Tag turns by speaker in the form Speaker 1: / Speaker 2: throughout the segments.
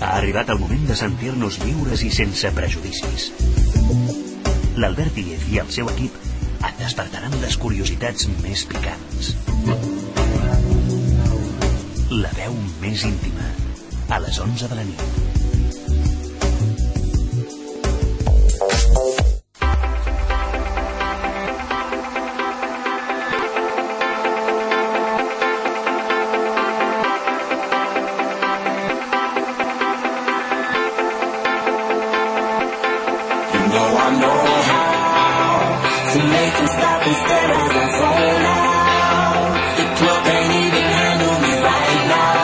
Speaker 1: Ha arribat el moment de sentir-nos lliures i sense prejudicis. L'Albert Díez i el seu equip et despertaran les curiositats més picants. La veu més íntima, a les 11 de la nit.
Speaker 2: You know I know how to make them stop and stare as I fall out. The club ain't even handle me right now.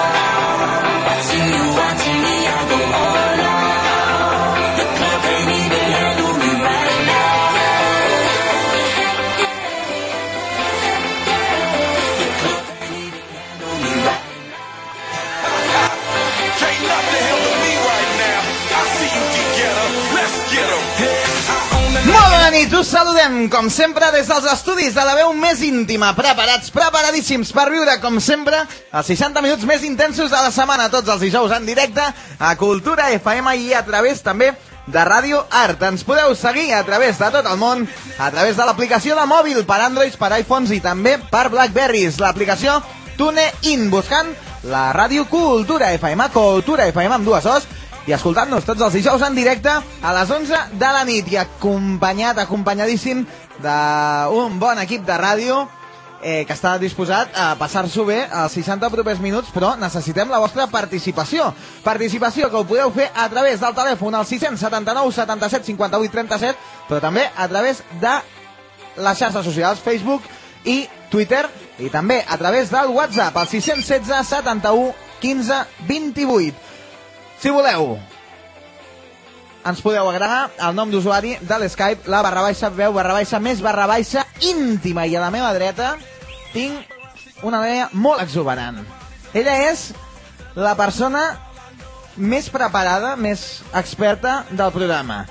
Speaker 2: Watching you, watching me, I go all out. The club ain't even handle me right now. The club ain't even handle me right now.
Speaker 3: Can't nothing handle me right now. I see you can get 'em. Let's get 'em. I own the
Speaker 4: Molt bona nit, us saludem, com sempre, des dels estudis de la veu més íntima. Preparats, preparadíssims per viure, com sempre, els 60 minuts més intensos de la setmana, tots els dijous en directe, a Cultura FM i a través també de Ràdio Art. Ens podeu seguir a través de tot el món, a través de l'aplicació de mòbil per Androids, per iPhones i també per Blackberries, l'aplicació TuneIn, buscant la Ràdio Cultura FM, Cultura FM amb dues os, i escoltant-nos tots els dijous en directe a les 11 de la nit i acompanyat, acompanyadíssim d'un bon equip de ràdio eh, que està disposat a passar-s'ho bé els 60 propers minuts, però necessitem la vostra participació. Participació que ho podeu fer a través del telèfon al 679 77 58 37, però també a través de les xarxes socials Facebook i Twitter i també a través del WhatsApp al 616 71 15 28. Si voleu, ens podeu agregar el nom d'usuari de l'Skype, la barra baixa veu, barra baixa més, barra baixa íntima. I a la meva dreta tinc una noia molt exuberant. Ella és la persona més preparada, més experta del programa.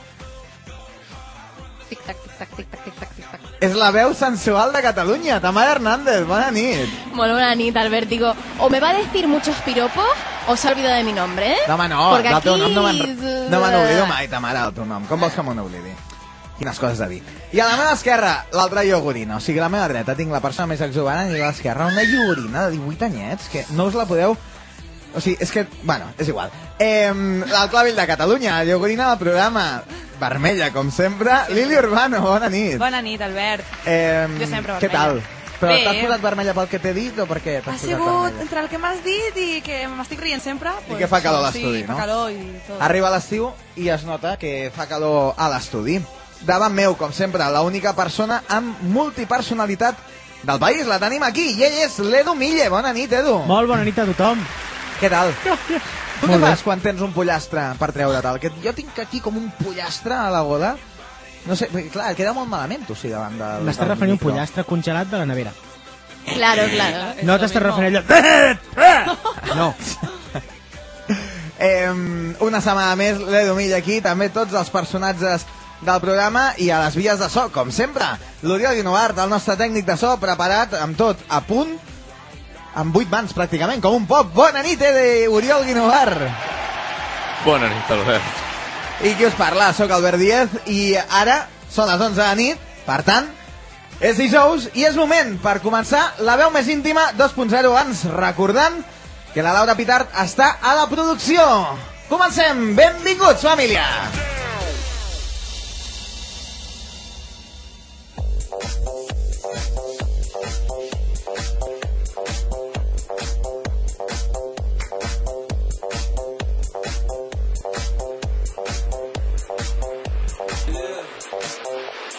Speaker 5: Tic tac, tic tac, tic tac, tic tac, tic tac.
Speaker 4: És la veu sensual de Catalunya, Tamara Hernández. Bona nit.
Speaker 5: Molt bona nit, Albert. Digo, o me va a decir muchos piropos o se ha olvidado de mi nombre, ¿eh?
Speaker 4: No, home, no,
Speaker 5: Porque
Speaker 4: del
Speaker 5: aquí...
Speaker 4: teu nom no me'n
Speaker 6: eh,
Speaker 4: no me n'oblido mai, ta mare, del teu nom. Com vols que me n'oblidi? Quines coses a dir. I a la meva esquerra, l'altra iogurina. O sigui, a la meva dreta tinc la persona més exuberant i a l'esquerra una iogurina de 18 anyets que no us la podeu... O sigui, és que... Bueno, és igual. Eh, el clavell de Catalunya, la iogurina del programa. Vermella, com sempre. Lili Urbano, bona nit.
Speaker 6: Bona nit, Albert.
Speaker 4: Eh,
Speaker 6: Jo sempre
Speaker 4: Què tal?
Speaker 6: vermella.
Speaker 4: Però
Speaker 6: Bé.
Speaker 4: t'has posat vermella pel que t'he dit o per què
Speaker 6: Ha
Speaker 4: t'has posat
Speaker 6: sigut
Speaker 4: vermella?
Speaker 6: entre el que m'has dit i que m'estic rient sempre...
Speaker 4: I que fa calor a l'estudi,
Speaker 6: sí, Sí,
Speaker 4: no?
Speaker 6: fa calor i tot.
Speaker 4: Arriba l'estiu i es nota que fa calor a l'estudi. Davant meu, com sempre, la única persona amb multipersonalitat del país. La tenim aquí i ell és l'Edu Mille. Bona nit, Edu.
Speaker 7: Molt bona nit a tothom.
Speaker 4: Què tal? Tu què
Speaker 7: Molt bé.
Speaker 4: fas quan tens un pollastre per treure tal? Que jo tinc aquí com un pollastre a la gola. No sé, perquè, clar, queda molt malament, tu, sí, davant del...
Speaker 7: M'estàs
Speaker 4: del
Speaker 7: referint a un
Speaker 4: micro.
Speaker 7: pollastre congelat de la nevera.
Speaker 5: Claro, claro.
Speaker 7: No t'estàs referint a allò... No.
Speaker 4: Eh, una setmana més, l'Edu Milla aquí, també tots els personatges del programa i a les vies de so, com sempre. L'Oriol Guinovart, el nostre tècnic de so, preparat amb tot a punt, amb vuit mans pràcticament, com un pop. Bona nit, eh, de Oriol Guinovart.
Speaker 8: Bona nit, Albert.
Speaker 4: I qui us parla? Soc Albert Díez i ara són les 11 de la nit, per tant, és dijous i és moment per començar la veu més íntima 2.0 abans, recordant que la Laura Pitart està a la producció. Comencem! Benvinguts, família!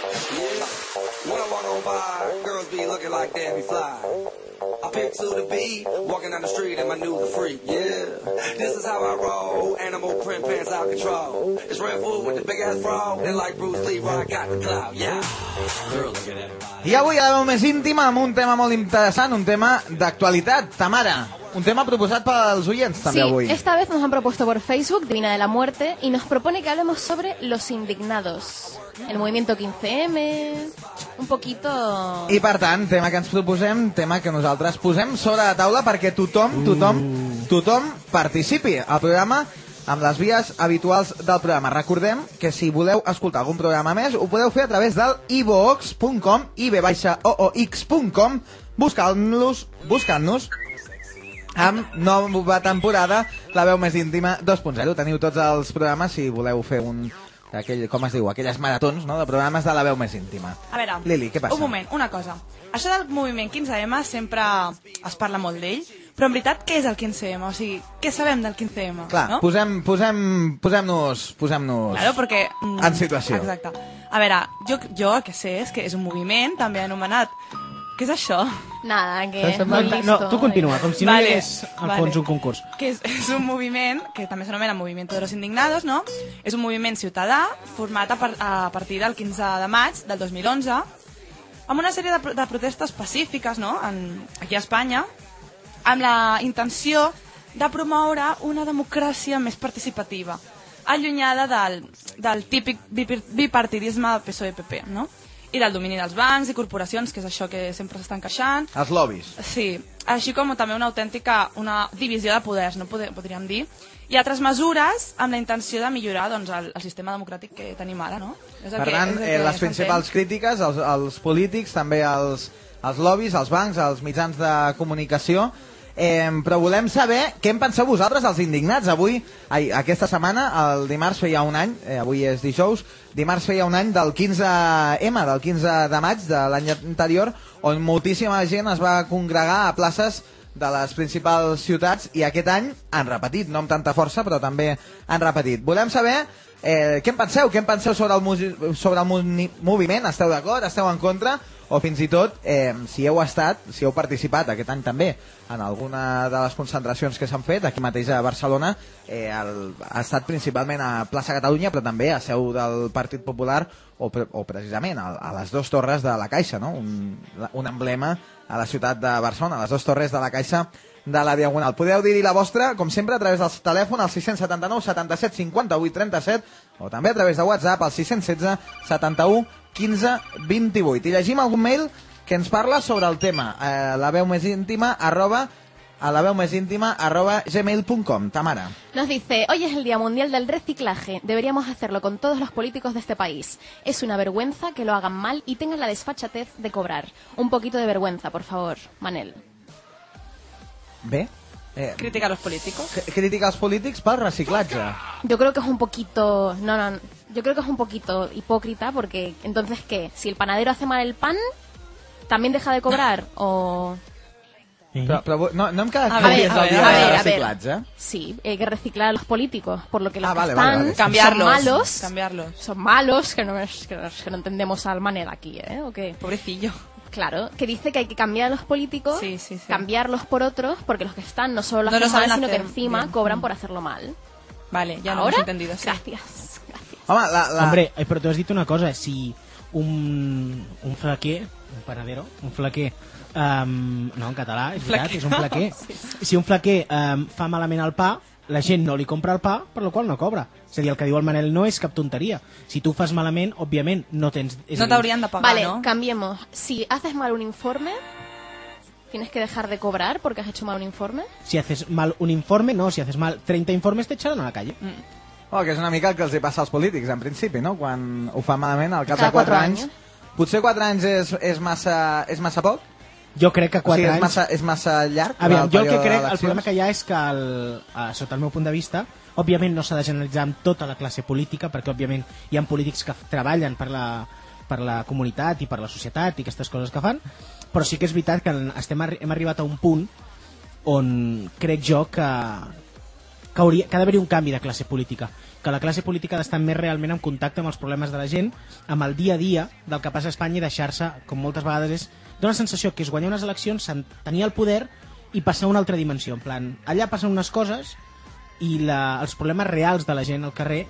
Speaker 3: When I walk on by, girls be looking like they be fly. I pick to the beat, walking down the street in my new freak, yeah. This is how I roll, animal print pants out control. It's red food with the big ass frog, and like Bruce Lee, I got the cloud, yeah. Girl, look at that body.
Speaker 4: I avui a la veu més íntima amb un tema molt interessant, un tema d'actualitat, Tamara. Un tema proposat pels oients
Speaker 5: Sí,
Speaker 4: també avui.
Speaker 5: esta vez nos han propuesto por Facebook Divina de la Muerte y nos propone que hablemos sobre los indignados. El movimiento 15M, un poquito...
Speaker 4: I per tant, tema que ens proposem, tema que nosaltres posem sobre la taula perquè tothom, tothom, tothom participi. El programa amb les vies habituals del programa. Recordem que si voleu escoltar algun programa més, ho podeu fer a través del ibox.com, ib-oox.com, buscant-nos, buscant-nos amb nova temporada, la veu més íntima 2.0. Teniu tots els programes si voleu fer un... Aquell, com es diu? Aquelles maratons, no?, de programes de la veu més íntima.
Speaker 6: A veure,
Speaker 4: Lili, què passa?
Speaker 6: un moment, una cosa. Això del moviment 15M sempre es parla molt d'ell, però en veritat què és el 15M? O sigui, què sabem del 15M?
Speaker 4: Clar,
Speaker 6: no?
Speaker 4: posem, posem, posem-nos... Posem-nos...
Speaker 6: Claro, perquè... mm,
Speaker 4: En situació.
Speaker 6: Exacte. A veure, jo, jo el que sé és que és un moviment també anomenat... Què és això?
Speaker 5: Nada,
Speaker 6: Eh,
Speaker 5: que
Speaker 4: Estàs
Speaker 5: es muy
Speaker 7: No,
Speaker 5: listo. eh?
Speaker 7: no, tu continua, com si no hi hagués al
Speaker 6: vale.
Speaker 7: fons un concurs.
Speaker 6: Que és, és un moviment, que també s'anomena Movimiento de los Indignados, no? És un moviment ciutadà format a, par a partir del 15 de maig del 2011 amb una sèrie de, pro de protestes pacífiques, no?, en, aquí a Espanya, amb la intenció de promoure una democràcia més participativa, allunyada del, del típic bipir- bipartidisme del PSOE-PP, E no?, i del domini dels bancs i corporacions, que és això que sempre s'estan queixant,
Speaker 4: Els lobbies.
Speaker 6: Sí, així com també una autèntica una divisió de poders, no Pode- podríem dir, i altres mesures amb la intenció de millorar doncs, el, el sistema democràtic que tenim ara, no? És el
Speaker 4: Per
Speaker 6: que-
Speaker 4: tant,
Speaker 6: és el
Speaker 4: eh,
Speaker 6: que
Speaker 4: les
Speaker 6: s'entén.
Speaker 4: principals crítiques, els, els polítics, també els, els lobbies, els bancs, els mitjans de comunicació, eh, però volem saber què en penseu vosaltres, els indignats. Avui, ai, aquesta setmana, el dimarts feia un any, eh, avui és dijous, dimarts feia un any del 15M, del 15 de maig de l'any anterior, on moltíssima gent es va congregar a places de les principals ciutats i aquest any han repetit, no amb tanta força, però també han repetit. Volem saber eh, què en penseu, què en penseu sobre el, musi- sobre el muni- moviment, esteu d'acord, esteu en contra, o fins i tot, eh, si heu estat, si heu participat aquest any també en alguna de les concentracions que s'han fet, aquí mateix a Barcelona, eh, el, ha estat principalment a plaça Catalunya, però també a seu del Partit Popular o, pre- o precisament a, a les dues torres de la Caixa, no? un, la- un emblema a la ciutat de Barcelona, a les dues torres de la Caixa de la Diagonal. Podeu dir-hi la vostra, com sempre, a través del telèfon al 679 77 58 37 o també a través de WhatsApp al 616 71 15 28. I llegim algun mail que ens parla sobre el tema. Eh, la veu més íntima arroba a la veu més íntima arroba gmail.com. Tamara.
Speaker 5: Nos dice, hoy es el Día Mundial del Reciclaje, deberíamos hacerlo con todos los políticos de este país. Es una vergüenza que lo hagan mal y tengan la desfachatez de cobrar. Un poquito de vergüenza, por favor, Manel.
Speaker 4: Bé? Eh,
Speaker 6: Crítica a los políticos.
Speaker 4: cr- crítica als polítics pel reciclatge.
Speaker 5: Yo creo que es un poquito, no, no, yo creo que es un poquito hipócrita porque entonces qué, si el panadero hace mal el pan, también deja de cobrar o
Speaker 4: Però, però vo- no, no hem quedat
Speaker 6: A
Speaker 4: que
Speaker 6: ver,
Speaker 4: avui és
Speaker 6: a
Speaker 4: el
Speaker 6: ver,
Speaker 4: dia
Speaker 6: a
Speaker 4: del
Speaker 5: ver, a ver.
Speaker 4: reciclatge.
Speaker 5: sí, hay que reciclar a los políticos por lo que los
Speaker 4: Ah,
Speaker 5: que
Speaker 4: vale,
Speaker 5: están
Speaker 4: vale, vale.
Speaker 6: Cambiarlos.
Speaker 5: son malos,
Speaker 6: Cambiarlos.
Speaker 5: son malos que no, es- que no- que no entendemos al Manel aquí, ¿eh? ¿O qué?
Speaker 6: Pobrecillo.
Speaker 5: Claro, que dice que hay que cambiar a los políticos,
Speaker 6: Sí, sí, sí.
Speaker 5: cambiarlos por otros, porque los que están no solo lo
Speaker 6: No lo
Speaker 5: hacen mal,
Speaker 6: saben
Speaker 5: sino que
Speaker 6: hacer
Speaker 5: encima
Speaker 6: bien. Mm.
Speaker 5: cobran por hacerlo mal.
Speaker 6: Vale, ya lo
Speaker 5: Ahora,
Speaker 6: hemos entendido. Sí.
Speaker 5: gracias, gracias.
Speaker 4: Home, la, la...
Speaker 7: Hombre, eh, però tu has dit una cosa, si un, un flaquer, un panadero, un flaquer, um, no, en català, és veritat,
Speaker 6: Flaquer.
Speaker 7: és un flaquer. Si un flaquer um, fa malament el pa, la gent no li compra el pa, per la qual no cobra. És a dir, el que diu el Manel no és cap tonteria. Si tu fas malament, òbviament, no tens... És a
Speaker 6: No
Speaker 7: dir,
Speaker 6: t'haurien de pagar,
Speaker 5: vale,
Speaker 6: no?
Speaker 5: cambiemos. Si haces mal un informe, tienes que dejar de cobrar porque has hecho mal un informe.
Speaker 7: Si haces mal un informe, no. Si haces mal 30 informes, te echarán a la calle.
Speaker 6: Mm.
Speaker 4: Oh, que és una mica el que els hi passa als polítics, en principi, no? Quan ho fa malament, al cap
Speaker 5: Cada
Speaker 4: de 4
Speaker 5: quatre
Speaker 4: anys...
Speaker 5: anys.
Speaker 4: Potser 4 anys és, és, massa, és massa poc?
Speaker 7: Jo crec que 4
Speaker 4: o sigui,
Speaker 7: anys...
Speaker 4: És massa, és massa llarg?
Speaker 7: Aviam, jo el que
Speaker 4: període
Speaker 7: crec, el
Speaker 4: d'eleccions?
Speaker 7: problema que hi ha és que, el, eh, sota el meu punt de vista, òbviament no s'ha de generalitzar amb tota la classe política, perquè òbviament hi ha polítics que f- treballen per la, per la comunitat i per la societat i aquestes coses que fan, però sí que és veritat que en- estem, arri- hem arribat a un punt on crec jo que, que, hauria, que ha d'haver-hi un canvi de classe política que la classe política ha d'estar més realment en contacte amb els problemes de la gent, amb el dia a dia del que passa a Espanya i deixar-se, com moltes vegades és, dona la sensació que és guanyar unes eleccions, sen- tenir el poder i passar a una altra dimensió. En plan, allà passen unes coses i la, els problemes reals de la gent al carrer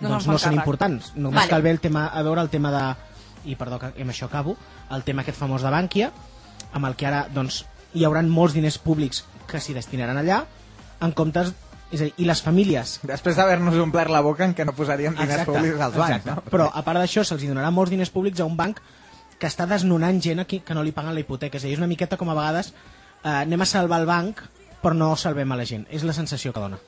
Speaker 6: No
Speaker 7: no,
Speaker 6: se'n
Speaker 7: doncs,
Speaker 6: fan
Speaker 7: no són
Speaker 6: càrrec.
Speaker 7: importants. Només
Speaker 5: Vale.
Speaker 7: cal bé el tema, a veure el tema de... I perdó, que amb això acabo. El tema aquest famós de Bànquia, amb el que ara doncs, hi haurà molts diners públics que s'hi destinaran allà, en comptes... És a dir, I les famílies
Speaker 4: Després d'haver-nos omplert la boca en què no posarien diners
Speaker 7: Exacte,
Speaker 4: públics als bancs,
Speaker 7: exacte.
Speaker 4: no?
Speaker 7: Però a part d'això se'ls hi donarà molts diners públics a un banc que està desnonant gent aquí que no li paguen la hipoteca. És a dir, és una miqueta com a vegades eh, anem a salvar el banc però no salvem a la gent. És la sensació que dona.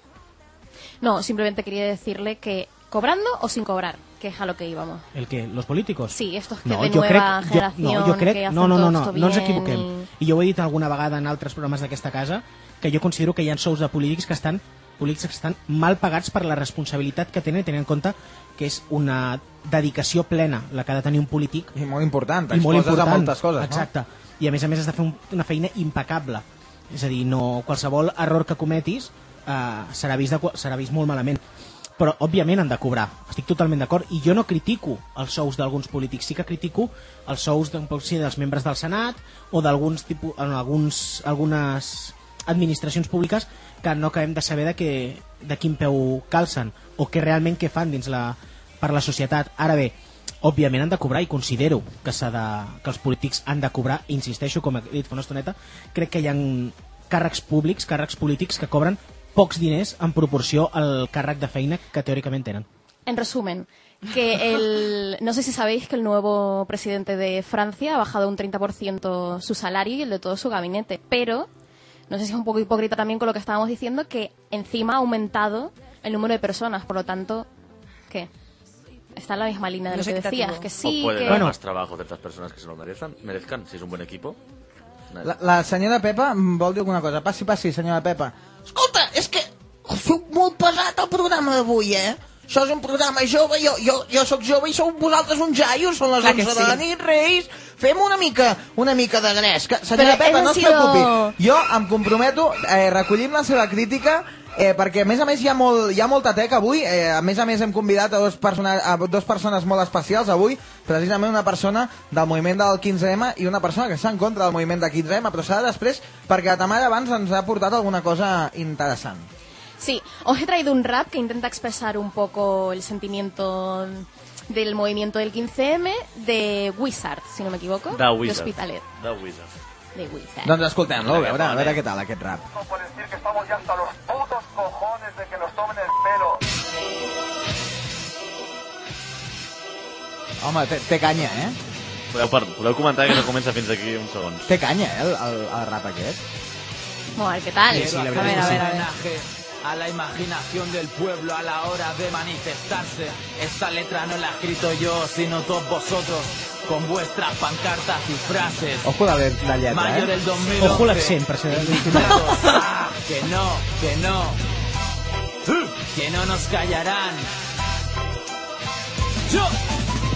Speaker 5: No, simplemente quería decirle que cobrando o sin cobrar, que es a lo que íbamos.
Speaker 7: El que los políticos.
Speaker 5: Sí, estos que de nueva generació,
Speaker 7: no, jo crec,
Speaker 5: que hacen
Speaker 7: no, no,
Speaker 5: todo
Speaker 7: no, no,
Speaker 5: esto
Speaker 7: no ens
Speaker 5: bien
Speaker 7: equivoquem.
Speaker 5: y-
Speaker 7: I... jo ho he dit alguna vegada en altres programes d'aquesta casa, que jo considero que hi ha sous de polítics que estan polítics que estan mal pagats per la responsabilitat que tenen, tenint en compte que és una dedicació plena la que ha de tenir un polític
Speaker 4: I molt important,
Speaker 7: i molt
Speaker 4: t'exposes
Speaker 7: important.
Speaker 4: a moltes coses,
Speaker 7: Exacte. I a més a més has de fer un, una feina impecable. És a dir, no qualsevol error que cometis eh, serà, vist de, qua- serà vist molt malament. Però, òbviament, han de cobrar. Estic totalment d'acord. I jo no critico els sous d'alguns polítics. Sí que critico els sous d'un poc, sí, dels membres del Senat o d'alguns tipus, en alguns, algunes administracions públiques que no acabem de saber de, que, de quin peu calcen o que realment què fan dins la, per la societat. Ara bé, òbviament han de cobrar i considero que, s'ha de, que els polítics han de cobrar, insisteixo, com he dit fa una estoneta, crec que hi ha càrrecs públics, càrrecs polítics que cobren pocs diners en proporció al càrrec de feina que teòricament tenen.
Speaker 5: En resumen, que el. No sé si sabéis que el nuevo presidente de Francia ha bajado un 30% su salario y el de todo su gabinete, pero. No sé si es un poco hipócrita también con lo que estábamos diciendo, que encima ha aumentado el número de personas, por lo tanto. ¿Qué? Está en la misma línea de
Speaker 6: No
Speaker 5: lo
Speaker 6: es
Speaker 5: que
Speaker 6: equitativo.
Speaker 5: decías, que
Speaker 8: O
Speaker 5: sí,
Speaker 8: puede
Speaker 5: que.
Speaker 8: dar más trabajo a ciertas personas que se lo merezcan, merezcan, si es un buen equipo.
Speaker 4: no? La, la senyora Pepa mm, vol dir alguna cosa. Passi, passi, senyora Pepa. Escolta, és que feu molt pesat el programa d'avui, eh? Això és un programa jove, jo, jo, jo sóc jove i sou vosaltres uns jaios, són les
Speaker 6: Clar que
Speaker 4: 11 de la
Speaker 6: sí.
Speaker 4: nit, reis. Fem una mica, una mica de gres. Que, senyora
Speaker 5: Però
Speaker 4: Pepa,
Speaker 5: hem
Speaker 4: no es
Speaker 5: sido-
Speaker 4: preocupi. Jo em comprometo, eh, recollim la seva crítica, eh, perquè a més a més hi ha, molt, hi ha molta teca avui, eh, a més a més hem convidat a dos, persona, a dos persones molt especials avui, precisament una persona del moviment del 15M i una persona que està en contra del moviment del 15M, però serà després perquè la Tamara abans ens ha portat alguna cosa interessant.
Speaker 5: Sí, os he traído un rap que intenta expresar un poco el sentimiento del movimiento del 15M de Wizard, si no me equivoco.
Speaker 8: Da
Speaker 5: De
Speaker 8: Wizard.
Speaker 5: Hospitalet,
Speaker 8: Da Wizard.
Speaker 5: de Wizard.
Speaker 4: Doncs escoltem-lo, a veure, a veure
Speaker 8: eh?
Speaker 4: què tal aquest rap.
Speaker 9: con decir que estamos ya hasta los putos cojones de que nos tomen el pelo.
Speaker 4: Home, té, té canya, eh?
Speaker 8: Podeu, per, podeu comentar que no comença fins aquí uns segons.
Speaker 4: Té canya, eh, el, el, el rap aquest.
Speaker 5: Vamos a ver qué tal.
Speaker 7: Sí, sí, la
Speaker 5: a ver,
Speaker 7: verdad es que
Speaker 5: a
Speaker 7: sí.
Speaker 5: ver, a ver.
Speaker 10: homenaje a la imaginación del pueblo a la hora de manifestarse. Esta letra no la he escrito yo, sino todos vosotros, con vuestras pancartas y frases.
Speaker 4: Ojo la, de- la lletra,
Speaker 10: Mayo
Speaker 4: eh?
Speaker 10: del 2011.
Speaker 7: Ojo l'accent, per ser
Speaker 10: Ah, que no, que no. Que no nos callarán. Yo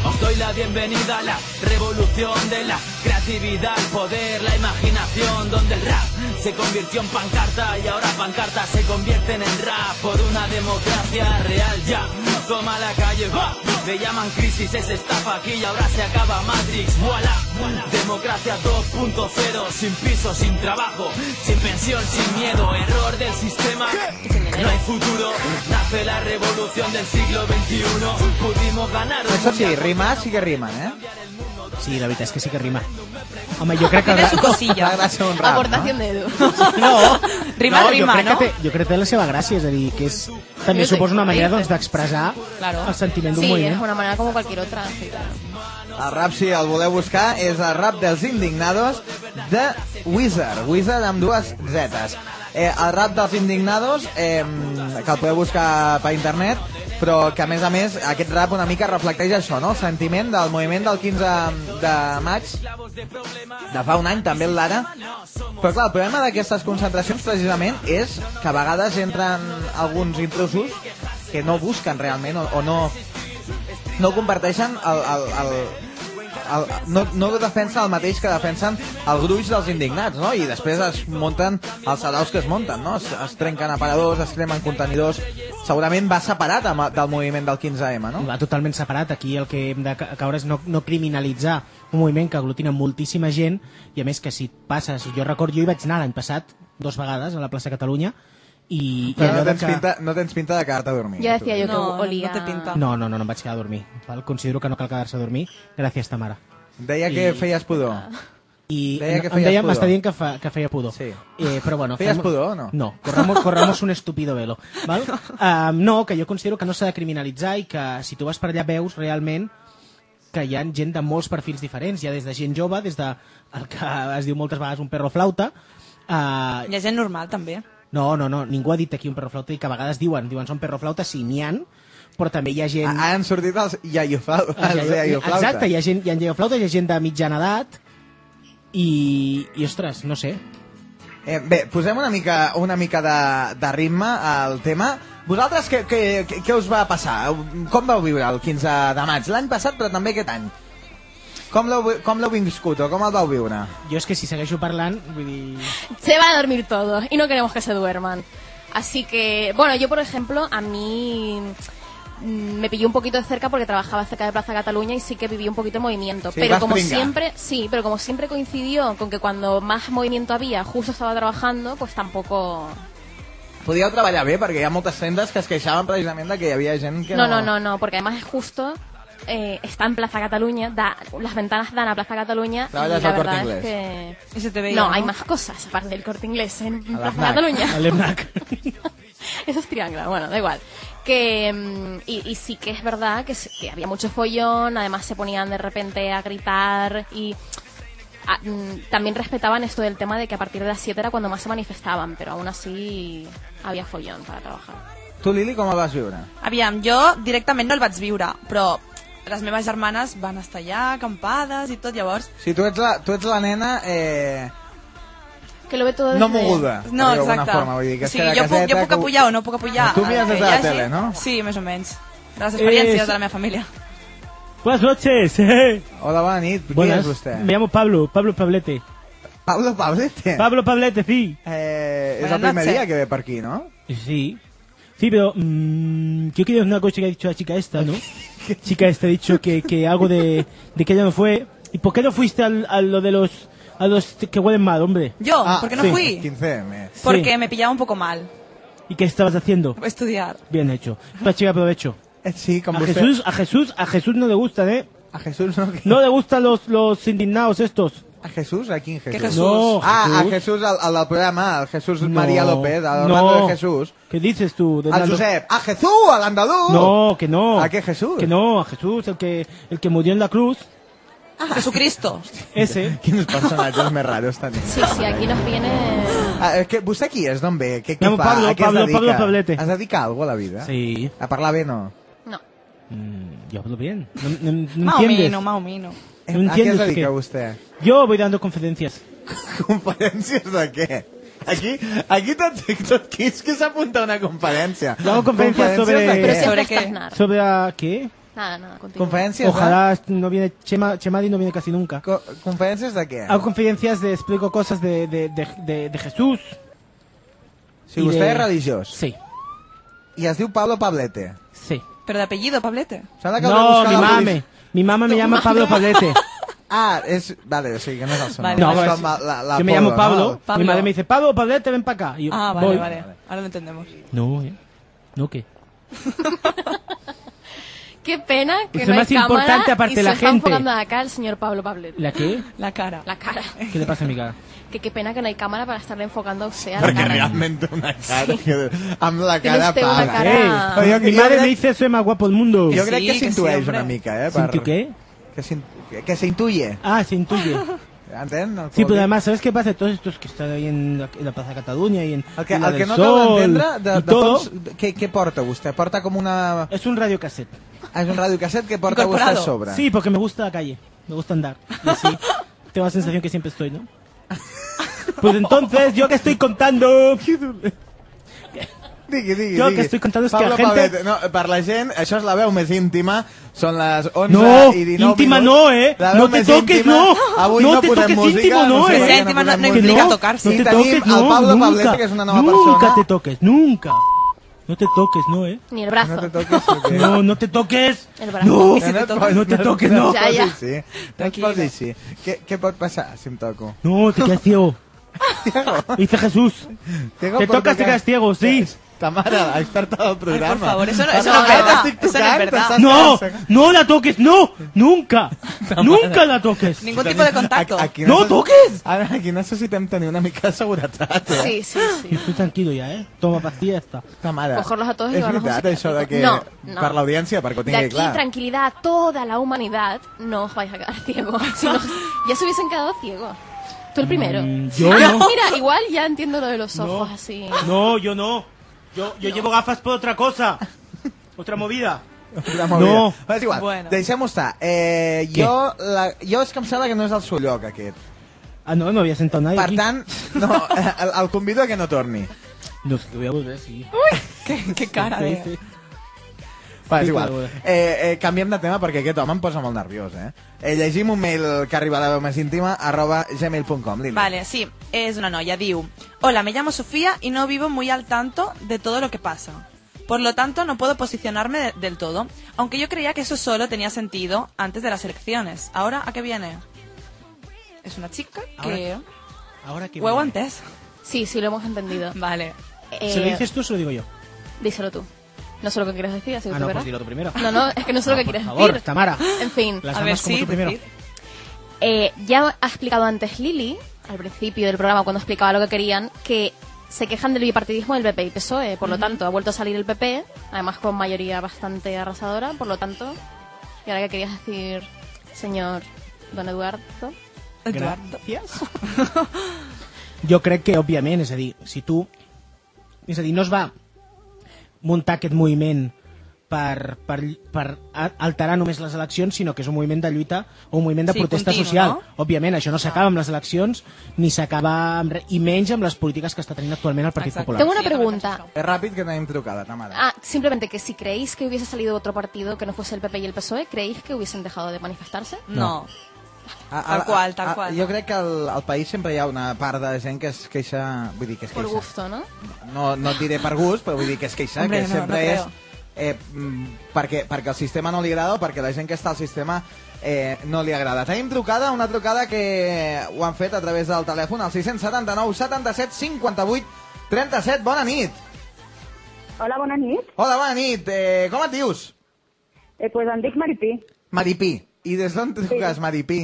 Speaker 10: os doy la bienvenida a la revolución de la creatividad, el poder, la imaginación, donde el rap se convirtió en pancarta y ahora pancartas se convierten en rap por una democracia real ya. Toma la calle, va. Le llaman crisis, es estafa aquí y ahora se acaba Matrix. Voilà, democracia 2.0, sin piso, sin trabajo, sin pensión, sin miedo, error del sistema. No hay futuro, nace la revolución del siglo XXI. Pudimos ganar un
Speaker 4: Això sí, rimar sí que rimen, eh?
Speaker 7: Sí, la veritat és que sí que rima. Home, jo crec que...
Speaker 6: Tiene su
Speaker 4: Va,
Speaker 6: cosilla.
Speaker 4: va ser un rap,
Speaker 5: Aportación de Edu.
Speaker 6: No, rima,
Speaker 7: no, jo
Speaker 6: rima,
Speaker 7: crec
Speaker 6: ¿no?
Speaker 7: Que té, jo crec que té la seva gràcia, és a dir, que és... També
Speaker 6: Jo sé,
Speaker 7: suposa una manera
Speaker 6: ahí-
Speaker 7: doncs, d'expressar
Speaker 6: Claro.
Speaker 7: el sentiment d'un
Speaker 5: Sí, es
Speaker 7: moviment.
Speaker 5: una manera como cualquier otra. sí, claro.
Speaker 4: El rap, si el voleu buscar, és el rap dels indignados de Wizard. Wizard amb dues zetes. Eh, el rap dels indignados, eh, que el podeu buscar per internet, però que a més a més aquest rap una mica reflecteix això, no? el sentiment del moviment del 15 de maig de fa un any, també el d'ara. Però clar, el problema d'aquestes concentracions precisament és que a vegades entren alguns intrusos que no busquen realment o, o no no comparteixen el, el, el, el, no, no defensen el mateix que defensen el gruix dels indignats, no? I després es munten els salaus que es munten, no? Es, es trenquen aparadors, es cremen contenidors... Segurament va separat amb, del moviment del 15M, no?
Speaker 7: va totalment separat. Aquí el que hem de ca- caure és no, no criminalitzar un moviment que aglutina moltíssima gent i a més que si passes, jo recordo, jo hi vaig anar l'any passat dos vegades a la plaça Catalunya i, i
Speaker 4: Però no
Speaker 7: allò de
Speaker 4: tens, pinta, no tens pinta de quedar-te a dormir.
Speaker 5: Ya decía yo que
Speaker 6: No, no
Speaker 5: olía.
Speaker 6: te pinta.
Speaker 7: No, no, no, no em vaig quedar a dormir. Val? Considero que no cal quedar-se a dormir. Gràcies, Tamara.
Speaker 4: Deia que feies pudor.
Speaker 7: I
Speaker 4: Deia
Speaker 7: em-
Speaker 4: que
Speaker 7: em
Speaker 4: feies
Speaker 7: deia,
Speaker 4: pudor.
Speaker 7: m'està dient que, fa, que feia pudor.
Speaker 4: Sí.
Speaker 7: Eh, però bueno,
Speaker 4: Feies
Speaker 7: fem-
Speaker 4: pudor o no?
Speaker 7: No, corramos, corramos un estúpido velo. Val? Um, no, que jo considero que no s'ha de criminalitzar i que si tu vas per allà veus realment que hi ha gent de molts perfils diferents. Hi ha des de gent jove, des de el que es diu moltes vegades un perro flauta, eh,
Speaker 6: Hi ha gent normal, també.
Speaker 7: No, no, no, ningú ha dit aquí un perroflauta i que a vegades diuen, diuen són perroflautes, sí, n'hi han, però també hi ha gent... Ah,
Speaker 4: Ah, Han sortit els iaioflautes.
Speaker 7: Exacte, hi ha gent, hi ha iaioflautes, hi ha gent de mitjana edat i, i, ostres, no sé.
Speaker 4: Eh, bé, posem una mica, una mica de, de ritme al tema. Vosaltres què, què, què- què us va passar? Com vau viure el 15 de maig? L'any passat, però també aquest any. Com l'heu vi- com l'heu viscut o com el vau viure?
Speaker 7: Jo és que si segueixo parlant, vull dir...
Speaker 5: Se van a dormir todos y no queremos que se duerman. Así que, bueno, yo por ejemplo, a mí mm, me pilló un poquito de cerca porque trabajaba cerca de Plaza Cataluña y sí que viví un poquito el movimiento.
Speaker 4: Sí,
Speaker 5: pero
Speaker 4: vas
Speaker 5: como
Speaker 4: pringa.
Speaker 5: siempre, sí, pero como siempre coincidió con que cuando más movimiento había, justo estaba trabajando, pues tampoco.
Speaker 4: Podíeu treballar bé, perquè hi ha moltes tendes que es queixaven precisament de que hi havia gent que
Speaker 5: No, no, no, no, porque además es justo. eh, está en Plaza Cataluña, da- las ventanas dan a Plaza Cataluña y la
Speaker 4: Trabajas al
Speaker 5: verdad
Speaker 4: Corte
Speaker 5: es que
Speaker 6: I se te veia,
Speaker 5: no, hay más cosas aparte del corte inglés en Plaza
Speaker 4: la FNAC.
Speaker 5: Cataluña.
Speaker 7: A l'EMNAC.
Speaker 5: Eso es triángulo, bueno, da igual. Que, mm, y, y sí que es verdad que, se- que había mucho follón, además se ponían de repente a gritar y ah, mm, también respetaban esto del tema de que a partir de las 7 era cuando más se manifestaban, pero aún así había follón para trabajar.
Speaker 4: Tu, Lili, com el vas viure?
Speaker 6: Aviam, jo directament no el vaig viure, però les meves germanes van estar allà, acampades i tot, llavors...
Speaker 4: Si tu ets la, tu ets la nena... Eh,
Speaker 5: Que lo ve todo
Speaker 4: no
Speaker 5: desde-
Speaker 4: moguda,
Speaker 6: No,
Speaker 4: per dir-ho d'alguna
Speaker 6: exacte.
Speaker 4: forma. Vull dir, que
Speaker 6: o
Speaker 4: es
Speaker 6: sigui,
Speaker 4: queda
Speaker 6: jo,
Speaker 4: a
Speaker 6: puc, jo
Speaker 4: caseta,
Speaker 6: puc
Speaker 4: que ho-
Speaker 6: apujar o no puc apujar.
Speaker 4: Tu mires
Speaker 6: el que
Speaker 4: des de la
Speaker 6: hi hagi.
Speaker 4: tele, no?
Speaker 6: Sí, més o menys. De les experiències
Speaker 7: sí.
Speaker 6: de la meva família.
Speaker 7: Buenas noches.
Speaker 4: Hola, bona nit. Qui és vostè?
Speaker 7: Me llamo Pablo, Pablo Pablete.
Speaker 4: Pablo Pablete.
Speaker 7: Pablo Pablete, sí.
Speaker 4: Eh, es
Speaker 6: Buenas
Speaker 4: el primer
Speaker 6: noches.
Speaker 4: día que ve por aquí, ¿no?
Speaker 7: Sí. Sí, pero mm, yo quiero una cosa que ha dicho la chica esta, ¿no? chica esta ha dicho que, que algo de, de que ella no fue. ¿Y por qué no fuiste al, a lo de los a los que huelen mal, hombre?
Speaker 6: Jo,
Speaker 4: Ah,
Speaker 6: perquè no
Speaker 7: sí.
Speaker 6: fui?
Speaker 4: 15M.
Speaker 6: Porque me pillava un poco mal
Speaker 7: ¿Y qué estabas haciendo?
Speaker 6: estudiar.
Speaker 7: Bien hecho. Para chica aprovecho.
Speaker 4: Eh, sí, con
Speaker 7: A
Speaker 4: usted.
Speaker 7: Jesús, a Jesús, a Jesús no le gustan, ¿eh?
Speaker 4: A Jesús, ¿no?
Speaker 7: No le gustan los los indignados estos.
Speaker 4: ¿A Jesús? ¿A quién Jesús?
Speaker 6: ¿Qué Jesús?
Speaker 7: No.
Speaker 4: Ah, a Jesús, al, al del programa, al Jesús
Speaker 7: No.
Speaker 4: María López, al
Speaker 7: No.
Speaker 4: Orlando de Jesús.
Speaker 7: ¿Qué dices tú? de
Speaker 4: Al
Speaker 7: Nando?
Speaker 4: Josep. ¡A Jesús! ¡Al andaluz!
Speaker 7: No, que no.
Speaker 4: ¿A qué Jesús?
Speaker 7: Que no, a Jesús, el que, el que murió en la cruz.
Speaker 6: Jesucristo.
Speaker 7: Ese.
Speaker 4: Quins personatges més raros tenim.
Speaker 5: Sí, sí, aquí nos viene...
Speaker 4: Ah, és que, vostè qui és, d'on ve? Què, què
Speaker 7: Llamo
Speaker 4: fa?
Speaker 7: Pablo,
Speaker 4: a què
Speaker 7: Pablo,
Speaker 4: es dedica?
Speaker 7: Pablo Pablete.
Speaker 4: Es dedica a algo a la vida?
Speaker 7: Sí.
Speaker 4: A parlar bé, no?
Speaker 5: No,
Speaker 7: Mm, yo hablo bien. No, no- no
Speaker 6: Más o
Speaker 7: entiendes.
Speaker 6: menos, más o menos.
Speaker 7: No
Speaker 4: a què es
Speaker 7: entiendes
Speaker 4: dedica
Speaker 7: que-
Speaker 4: vostè?
Speaker 7: Yo voy dando conferencias.
Speaker 4: Conferències de què? Aquí, aquí tot, tot qui és que s'apunta a una conferència.
Speaker 7: Jo hago conferències sobre-
Speaker 4: de
Speaker 5: pero
Speaker 4: què?
Speaker 6: sí.
Speaker 5: siempre
Speaker 6: ¿Sobre qué?
Speaker 5: estás nada.
Speaker 7: ¿Sobre a qué?
Speaker 5: Nada, nada, continúa.
Speaker 4: Conferències de...
Speaker 7: Ojalá no viene Chema, Chemadi no viene casi nunca.
Speaker 4: Co conferències de què?
Speaker 7: Hago conferencias de explico cosas de, de, de, de- de Jesús.
Speaker 4: Si
Speaker 7: i
Speaker 4: vostè
Speaker 7: de-
Speaker 4: és religiós
Speaker 7: Sí,
Speaker 4: i es diu Pablo Pablete.
Speaker 7: sí.
Speaker 6: Pero de apellido, Pablete.
Speaker 4: Sembla que hauré
Speaker 7: No,
Speaker 4: buscat
Speaker 7: mi
Speaker 4: el
Speaker 7: mame.
Speaker 4: origen.
Speaker 7: Mi mamá me llama Pablo Pablete.
Speaker 4: Ah, és... Vale, o sigui que no és el seu nom.
Speaker 6: Vale.
Speaker 7: No,
Speaker 4: és
Speaker 7: es-
Speaker 4: com la, la, la
Speaker 7: yo me
Speaker 4: Pablo,
Speaker 7: llamo Pablo.
Speaker 4: No?
Speaker 6: Pablo.
Speaker 7: Mi madre me dice, Pablo Pablete, ven para acá. Y yo,
Speaker 6: Ah, vale,
Speaker 7: voy.
Speaker 6: vale. Ahora lo entendemos.
Speaker 7: No, ¿eh? No, ¿qué?
Speaker 5: Qué pena que
Speaker 7: Eso
Speaker 5: no
Speaker 7: es
Speaker 5: hay
Speaker 7: más importante,
Speaker 5: cámara
Speaker 7: aparte
Speaker 5: y
Speaker 7: de
Speaker 5: se
Speaker 7: la
Speaker 5: está
Speaker 7: gente.
Speaker 5: enfocando acá el señor Pablo Pablet.
Speaker 7: ¿La qué?
Speaker 6: La cara.
Speaker 5: La cara.
Speaker 7: ¿Qué le pasa a mi cara?
Speaker 5: Que qué pena que no hay cámara para estarle enfocando a usted a la
Speaker 4: Perquè
Speaker 5: cara.
Speaker 4: realment té una cara... Que, amb la
Speaker 5: Tiene
Speaker 4: cara
Speaker 5: usted una
Speaker 4: paga.
Speaker 5: cara- Ah.
Speaker 7: Ey,
Speaker 4: Yo-
Speaker 7: mi
Speaker 4: yo
Speaker 7: madre
Speaker 4: creo-
Speaker 7: me dice, soy más guapo del mundo.
Speaker 4: Jo crec
Speaker 6: Sí,
Speaker 4: que
Speaker 6: que sí,
Speaker 4: s'intueix
Speaker 6: hombre.
Speaker 4: una mica, eh? Per...
Speaker 7: ¿Sin qué?
Speaker 4: Que s'in- Que s'intuye.
Speaker 7: Ah, se intuye.
Speaker 4: Entén? El
Speaker 7: Sí,
Speaker 4: que vol
Speaker 7: pero
Speaker 4: dir?
Speaker 7: además, ¿sabes qué pasa? Todos estos que están ahí en la, en la Plaza de Cataluña y en
Speaker 4: El que,
Speaker 7: en la
Speaker 4: el que
Speaker 7: del
Speaker 4: no
Speaker 7: Sol
Speaker 4: acabo d'entendre, de,
Speaker 7: y
Speaker 4: de
Speaker 7: todo,
Speaker 4: fons, què, què porta vostè? Porta com una...
Speaker 7: es un radiocasset.
Speaker 4: És un radiocasset que porta vostè
Speaker 6: Incorporado.
Speaker 4: a sobre.
Speaker 7: Sí, porque me gusta la calle, me gusta andar. Y así tengo la sensación que siempre estoy, ¿no? Pues entonces, yo que estoy contando...
Speaker 4: Digui, digui,
Speaker 7: Jo el
Speaker 4: digui.
Speaker 7: que estic contant és que
Speaker 4: Pablo
Speaker 7: la gente-
Speaker 4: Pablet, no, per la gent, això és la veu més íntima, són les 11
Speaker 7: No,
Speaker 4: i 19
Speaker 7: íntima
Speaker 4: minuts.
Speaker 7: no, eh?
Speaker 4: La veu
Speaker 7: No te
Speaker 4: més
Speaker 7: toques,
Speaker 4: íntima.
Speaker 7: no.
Speaker 4: Avui
Speaker 7: No
Speaker 4: no
Speaker 7: te
Speaker 4: posem
Speaker 7: toques,
Speaker 4: música,
Speaker 7: íntimo no,
Speaker 4: sé
Speaker 7: eh?
Speaker 4: per què
Speaker 6: Ser íntima no-
Speaker 4: posem
Speaker 6: no
Speaker 4: música.
Speaker 6: implica
Speaker 7: no,
Speaker 6: tocarse.
Speaker 7: No
Speaker 4: I
Speaker 7: te
Speaker 4: tenim
Speaker 7: toques,
Speaker 4: el
Speaker 7: no,
Speaker 4: Pablo
Speaker 7: nunca.
Speaker 4: Pablete, que és una nova
Speaker 7: nunca
Speaker 4: persona.
Speaker 7: te toques, nunca. No te toques, no, ¿eh?
Speaker 5: Ni el brazo.
Speaker 4: No te toques. perquè-
Speaker 7: No, no te toques.
Speaker 5: El brazo.
Speaker 7: No,
Speaker 5: Que
Speaker 4: Que
Speaker 7: no,
Speaker 4: et posis-
Speaker 7: te toques,
Speaker 4: et
Speaker 7: no.
Speaker 5: Ja, ja.
Speaker 4: posis així. No et
Speaker 6: Tranquil·la.
Speaker 4: posis així. Què, què pot passar si em toco?
Speaker 7: No, te quedas ciego. Dice Jesús.
Speaker 4: Ciego
Speaker 7: Te
Speaker 4: por
Speaker 7: tocas, te
Speaker 4: tocar.
Speaker 7: quedas ciego, sí.
Speaker 4: Ta mare, l'experta del programa.
Speaker 6: por favor, eso no-
Speaker 4: Ta
Speaker 6: eso
Speaker 5: no es
Speaker 4: mare,
Speaker 5: verdad.
Speaker 4: t'estic
Speaker 6: Eso no es
Speaker 4: tocant,
Speaker 6: verdad.
Speaker 4: t'estàs
Speaker 7: No,
Speaker 4: quedant cec.
Speaker 7: no la toques, no, nunca, nunca la toques.
Speaker 6: Ningún tipo de contacto.
Speaker 4: Aquí
Speaker 7: No
Speaker 4: necessi-
Speaker 7: toquis!
Speaker 4: Ara, aquí necessitem tenir una mica de seguretat, eh?
Speaker 5: Sí, sí, sí.
Speaker 7: Estoy tranquilo ya, ¿eh? Toma pastilla esta.
Speaker 4: Ta mare.
Speaker 5: Cogerlos a todos y
Speaker 4: és
Speaker 5: llevarlos
Speaker 4: veritat,
Speaker 5: a un
Speaker 4: això de que...
Speaker 5: No, no.
Speaker 4: Per l'audiència, perquè ho
Speaker 5: De
Speaker 4: tingui
Speaker 5: aquí,
Speaker 4: clar.
Speaker 5: tranquilidad a toda la humanidad, no os vais a quedar ciegos. Si no, ya se hubiesen quedado ciegos. Tú el primero.
Speaker 11: Mm, yo
Speaker 5: Ah,
Speaker 11: no.
Speaker 5: Mira, igual ya entiendo lo de los ojos así.
Speaker 11: No, yo no. Yo, yo llevo gafas por otra cosa. Otra movida.
Speaker 4: Una movida.
Speaker 11: No.
Speaker 4: Però és igual, bueno. deixem-ho estar. Eh, jo, la, jo és que em sembla que no és el seu lloc, aquest.
Speaker 7: Ah, no, no havia sentit nadie
Speaker 4: Per
Speaker 7: aquí.
Speaker 4: tant, no, eh, el, el convido a que no torni.
Speaker 7: No, te voy a volver, sí.
Speaker 6: Qué, qué cara
Speaker 7: Sí,
Speaker 6: de...
Speaker 7: sí.
Speaker 4: Va, és
Speaker 7: Sí,
Speaker 4: igual.
Speaker 7: però-
Speaker 4: Eh, eh, canviem de tema perquè aquest home em posa molt nerviós, eh? eh llegim un mail que arriba a la veu més íntima, arroba gmail.com. Lili.
Speaker 6: Vale, sí, es una noya, Diu. Hola, me llamo Sofía y no vivo muy al tanto de todo lo que pasa. Por lo tanto, no puedo posicionarme de- del todo, aunque yo creía que eso solo tenía sentido antes de las elecciones. ¿Ahora a qué viene? Es una chica
Speaker 7: Ahora-
Speaker 6: que...
Speaker 7: Ahora que
Speaker 6: ¿Huevo antes?
Speaker 5: Sí, sí, lo hemos entendido.
Speaker 6: Vale.
Speaker 5: Eh,
Speaker 7: ¿Se lo dices tú o se lo digo yo?
Speaker 5: Díselo tú. No sé lo que quieres decir, así que
Speaker 7: Ah,
Speaker 5: tú
Speaker 7: no,
Speaker 5: verás.
Speaker 7: pues dilo tú primero. Ah,
Speaker 5: No, no, es que no sé lo que
Speaker 7: por
Speaker 5: quieres
Speaker 7: favor,
Speaker 5: decir.
Speaker 7: Tamara.
Speaker 5: En fin,
Speaker 7: Las
Speaker 6: A
Speaker 7: damas
Speaker 6: ver,
Speaker 7: como
Speaker 6: sí,
Speaker 7: tú primero.
Speaker 6: decid.
Speaker 5: eh, ya ha explicado antes Lili, al principio del programa, cuando explicaba lo que querían, que se quejan del bipartidismo del PP y PSOE. E. Por lo tanto, ha vuelto a salir el PP, además con mayoría bastante arrasadora. Por lo tanto, ¿y ahora qué querías decir, señor don Eduardo?
Speaker 6: Eduardo.
Speaker 7: Gràcies. Jo crec que, òbviament, és a dir, si tu... És a dir, no es va muntar aquest moviment per, per, per a- alterar només les eleccions, sinó que és un moviment de lluita o un moviment de
Speaker 6: Sí,
Speaker 7: protesta
Speaker 6: continu,
Speaker 7: social.
Speaker 6: no?
Speaker 7: Òbviament, això no s'acaba amb les eleccions, ni s'acaba amb re- i menys amb les polítiques que està tenint actualment el Partit
Speaker 6: Exacte.
Speaker 7: Popular.
Speaker 5: Tengo una
Speaker 6: Sí, ahora
Speaker 5: pregunta.
Speaker 4: Eh, ràpid, que tenim trucada, Tamara.
Speaker 5: Ah, simplemente que si creéis que hubiese salido otro partido que no fuese el PP y el PSOE, ¿creéis E, que hubiesen dejado de manifestarse?
Speaker 6: No.
Speaker 4: Ah,
Speaker 6: tal qual, tal qual.
Speaker 4: jo crec que al, al país sempre hi ha una part de gent que es queixa... Vull dir, que es
Speaker 5: Por
Speaker 4: queixa.
Speaker 5: gusto, ¿no?
Speaker 4: no, no et diré per gust, però vull dir que és queixa,
Speaker 6: Hombre,
Speaker 4: que
Speaker 6: no,
Speaker 4: sempre
Speaker 6: no creo.
Speaker 4: és... Eh, mm, perquè, perquè el sistema no li agrada o perquè la gent que està al sistema eh, no li agrada. Tenim trucada, una trucada que ho han fet a través del telèfon, al 679 77 58 37. Bona nit!
Speaker 12: Hola, bona nit.
Speaker 4: Hola, bona nit! Eh, com et dius?
Speaker 12: Eh, pues em dic Maripí.
Speaker 4: Maripí. I des d'on truques, Maripí?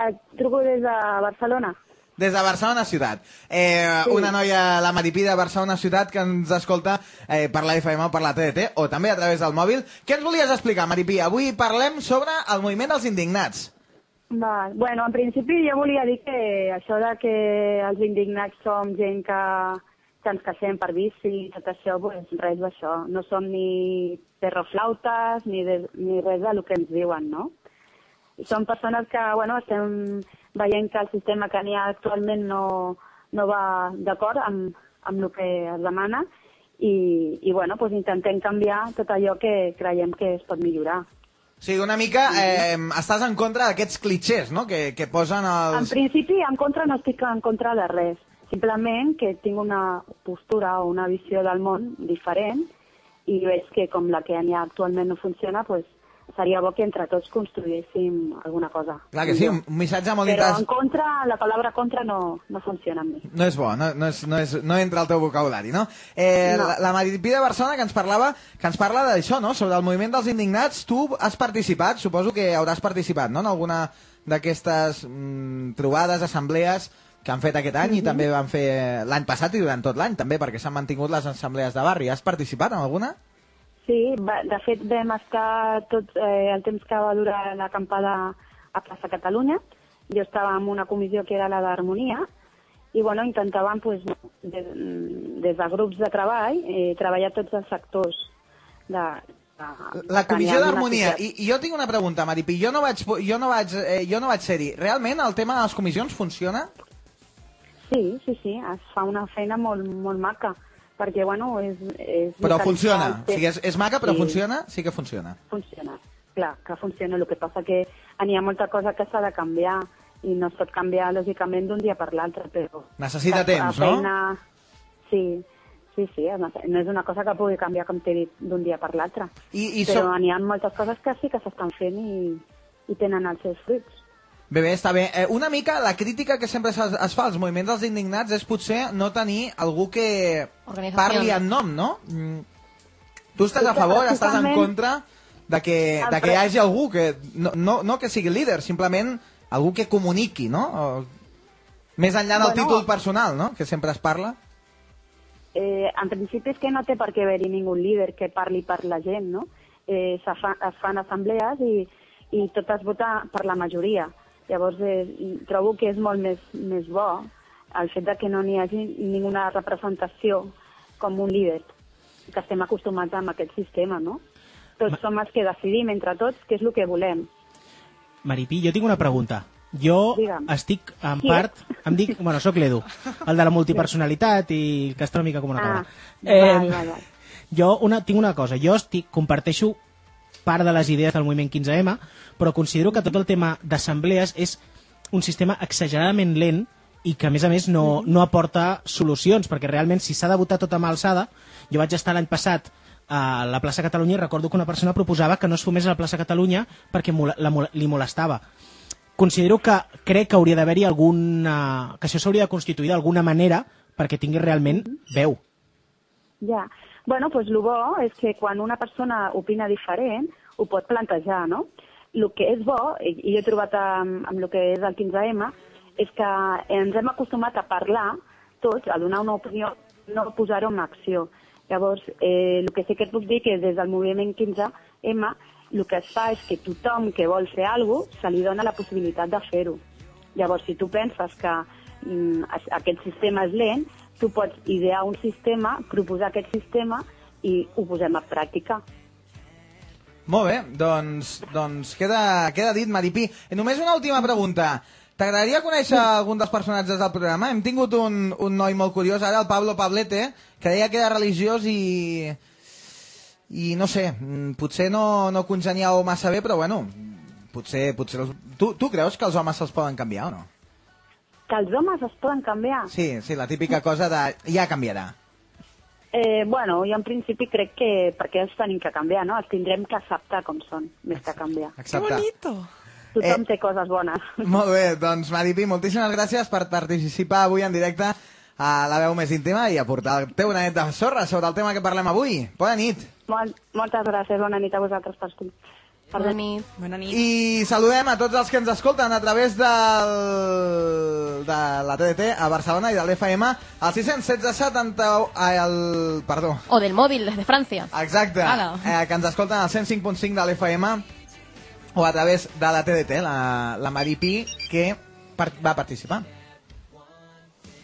Speaker 12: Et truco des de Barcelona.
Speaker 4: Des de Barcelona ciutat. Eh,
Speaker 12: Sí.
Speaker 4: Una noia, la Maripí de Barcelona ciutat, que ens escolta eh, per la FM o per la TDT, o també a través del mòbil. Què ens volies explicar, Maripí? Avui parlem sobre el moviment dels indignats.
Speaker 12: Val. Bueno, en principi jo volia dir que això de que els indignats som gent que, que ens queixem per vici i tot això, pues res d'això. No som ni perroflautes ni, de, ni res del que ens diuen, no? Són persones que, bueno, estem veient que el sistema que n'hi ha actualment no, no va d'acord amb, amb el que es demana i, i bueno, pues intentem canviar tot allò que creiem que es pot millorar.
Speaker 4: O sigui, una mica eh, estàs en contra d'aquests clichés, no?, que, que posen
Speaker 12: En
Speaker 4: els...
Speaker 12: principi, en contra no estic en contra de res. Simplement que tinc una postura o una visió del món diferent i veig que com la que hi ha actualment no funciona, pues, seria bo que entre tots construïssim alguna cosa.
Speaker 4: Clar que sí, un un missatge molt
Speaker 12: Però en
Speaker 4: interessant.
Speaker 12: contra, la paraula contra no, no funciona amb mi.
Speaker 4: No és bo, no, no, és, no, és, no entra al teu vocabulari, no? Eh,
Speaker 12: No.
Speaker 4: La, la Maripí de Barcelona que ens parlava que ens parla d'això, no? Sobre el moviment dels indignats. Tu has participat, suposo que hauràs participat, no? En alguna d'aquestes mm, trobades, assemblees que han fet aquest any
Speaker 12: Mhm.
Speaker 4: i també van fer l'any passat i durant tot l'any, també, perquè s'han mantingut les assemblees de barri. Has participat en alguna?
Speaker 12: Sí, va, de fet vam estar tot eh, el temps que va durar l'acampada a Plaça Catalunya. Jo estava en una comissió que era la d'harmonia i bueno, intentàvem pues, des, des de grups de treball eh, treballar tots els sectors de, de
Speaker 4: La comissió
Speaker 12: de
Speaker 4: d'harmonia.
Speaker 12: una
Speaker 4: I, I jo tinc una pregunta, Maripí. Jo no vaig, po- jo no vaig, eh, jo no vaig ser-hi. Realment el tema de les comissions funciona?
Speaker 12: societat. Sí, sí, sí, es fa una feina molt, molt maca, perquè, bueno, és... és
Speaker 4: Però
Speaker 12: localitzar el
Speaker 4: funciona. O sigui,
Speaker 12: temps.
Speaker 4: és, és maca, però
Speaker 12: Sí.
Speaker 4: funciona? Sí que funciona.
Speaker 12: funciona. Clar, que funciona. El que passa que n'hi ha molta cosa que s'ha de canviar i no es pot canviar, lògicament, d'un dia per l'altre, però...
Speaker 4: Necessita temps, no?
Speaker 12: no? Sí, sí, sí. es nece- No és una cosa que pugui canviar, com t'he dit, d'un dia per l'altre.
Speaker 4: I, i
Speaker 12: Però
Speaker 4: som...
Speaker 12: n'hi ha moltes coses que sí que s'estan fent i, i tenen els seus fruits.
Speaker 4: Bé, bé, està bé. Eh, una mica la crítica que sempre es, es fa als moviments dels indignats és potser no tenir algú que
Speaker 5: Organització.
Speaker 4: parli en nom, no? Mm. Tu estàs
Speaker 12: És
Speaker 4: a
Speaker 12: que
Speaker 4: favor, estàs en
Speaker 12: precisament-
Speaker 4: contra de que, de que hi hagi algú que... No, no, no que sigui líder, simplement algú que comuniqui, no? O, més enllà del
Speaker 12: Bueno.
Speaker 4: títol personal, no? Que sempre es parla.
Speaker 12: eh, en principi és que no té per què haver-hi ningú líder que parli per la gent, no? Eh, se fa, es fan assemblees i, i totes votar per la majoria. Llavors eh, trobo que és molt més, més bo el fet de que no n'hi hagi ninguna representació com un líder, que estem acostumats amb aquest sistema, no? Tots som els que decidim entre tots què és el que volem.
Speaker 7: Maripí, jo tinc una pregunta. Jo
Speaker 12: Digue'm.
Speaker 7: estic, en
Speaker 12: Qui
Speaker 7: part, em dic... Bueno, sóc l'Edu, el de la multipersonalitat i que està una mica com una cabra.
Speaker 12: Ah, val,
Speaker 7: Em,
Speaker 12: val, val.
Speaker 7: Jo una, tinc una cosa, jo estic, comparteixo part de les idees del moviment 15M, però considero que tot el tema d'assemblees és un sistema exageradament lent i que, a més a més, no, no aporta solucions, perquè realment, si s'ha de votar tot a mà alçada... Jo vaig estar l'any passat a la plaça Catalunya i recordo que una persona proposava que no es fumés a la plaça Catalunya perquè mola- la, mola- li molestava considero que crec que hauria d'haver-hi alguna... que això s'hauria de constituir d'alguna manera perquè tingui realment veu.
Speaker 12: Ja. Bueno, doncs el bo és que quan una persona opina diferent, ho pot plantejar, no? El que és bo, i i jo he trobat amb, amb el que és el 15M, és que ens hem acostumat a parlar tots, a donar una opinió, no a posar-ho en acció. Llavors, eh, el que sí que et puc dir que des del moviment 15M el que es fa és que tothom que vol fer alguna cosa se li dona la possibilitat de fer-ho. Llavors, si tu penses que mm, a- aquest sistema és lent, tu pots idear un sistema, proposar aquest sistema i ho posem a pràctica.
Speaker 4: Molt bé, doncs, doncs queda, queda dit, Maripí. Eh, Només una última pregunta. T'agradaria conèixer algun dels personatges del programa? Hem tingut un, un noi molt curiós, ara el Pablo Pablete, que deia que era religiós i... I no sé, mm, potser no, no congeniàveu massa bé, però bueno, potser... potser els... tu, tu creus que els homes se'ls poden canviar o no?
Speaker 12: Que els homes es poden canviar?
Speaker 4: Sí, sí, la típica cosa de ja canviarà.
Speaker 12: Eh, bueno, jo en principi crec que perquè els tenim que canviar, no? Els tindrem que acceptar com són, més que canviar.
Speaker 4: Acceptar. Que bonito! Eh.
Speaker 12: Tothom té coses bones.
Speaker 4: Molt bé, doncs Maripi, moltíssimes gràcies per participar avui en directe a la veu més íntima i aportar el teu granet de sorra sobre el tema que parlem avui. Bona nit.
Speaker 12: Molt, moltes gràcies, bona nit a vosaltres per escoltar. Bona nit. Bona nit.
Speaker 4: I saludem a tots els que ens escolten a través del, de la TDT a Barcelona i de l'FM al 616 70... El, perdó.
Speaker 5: O del mòbil, des de Francia.
Speaker 4: Exacte.
Speaker 5: Ala.
Speaker 4: Eh, que ens escolten al 105.5 de l'FM o a través de la TDT, la, la Mari Pi, que par va participar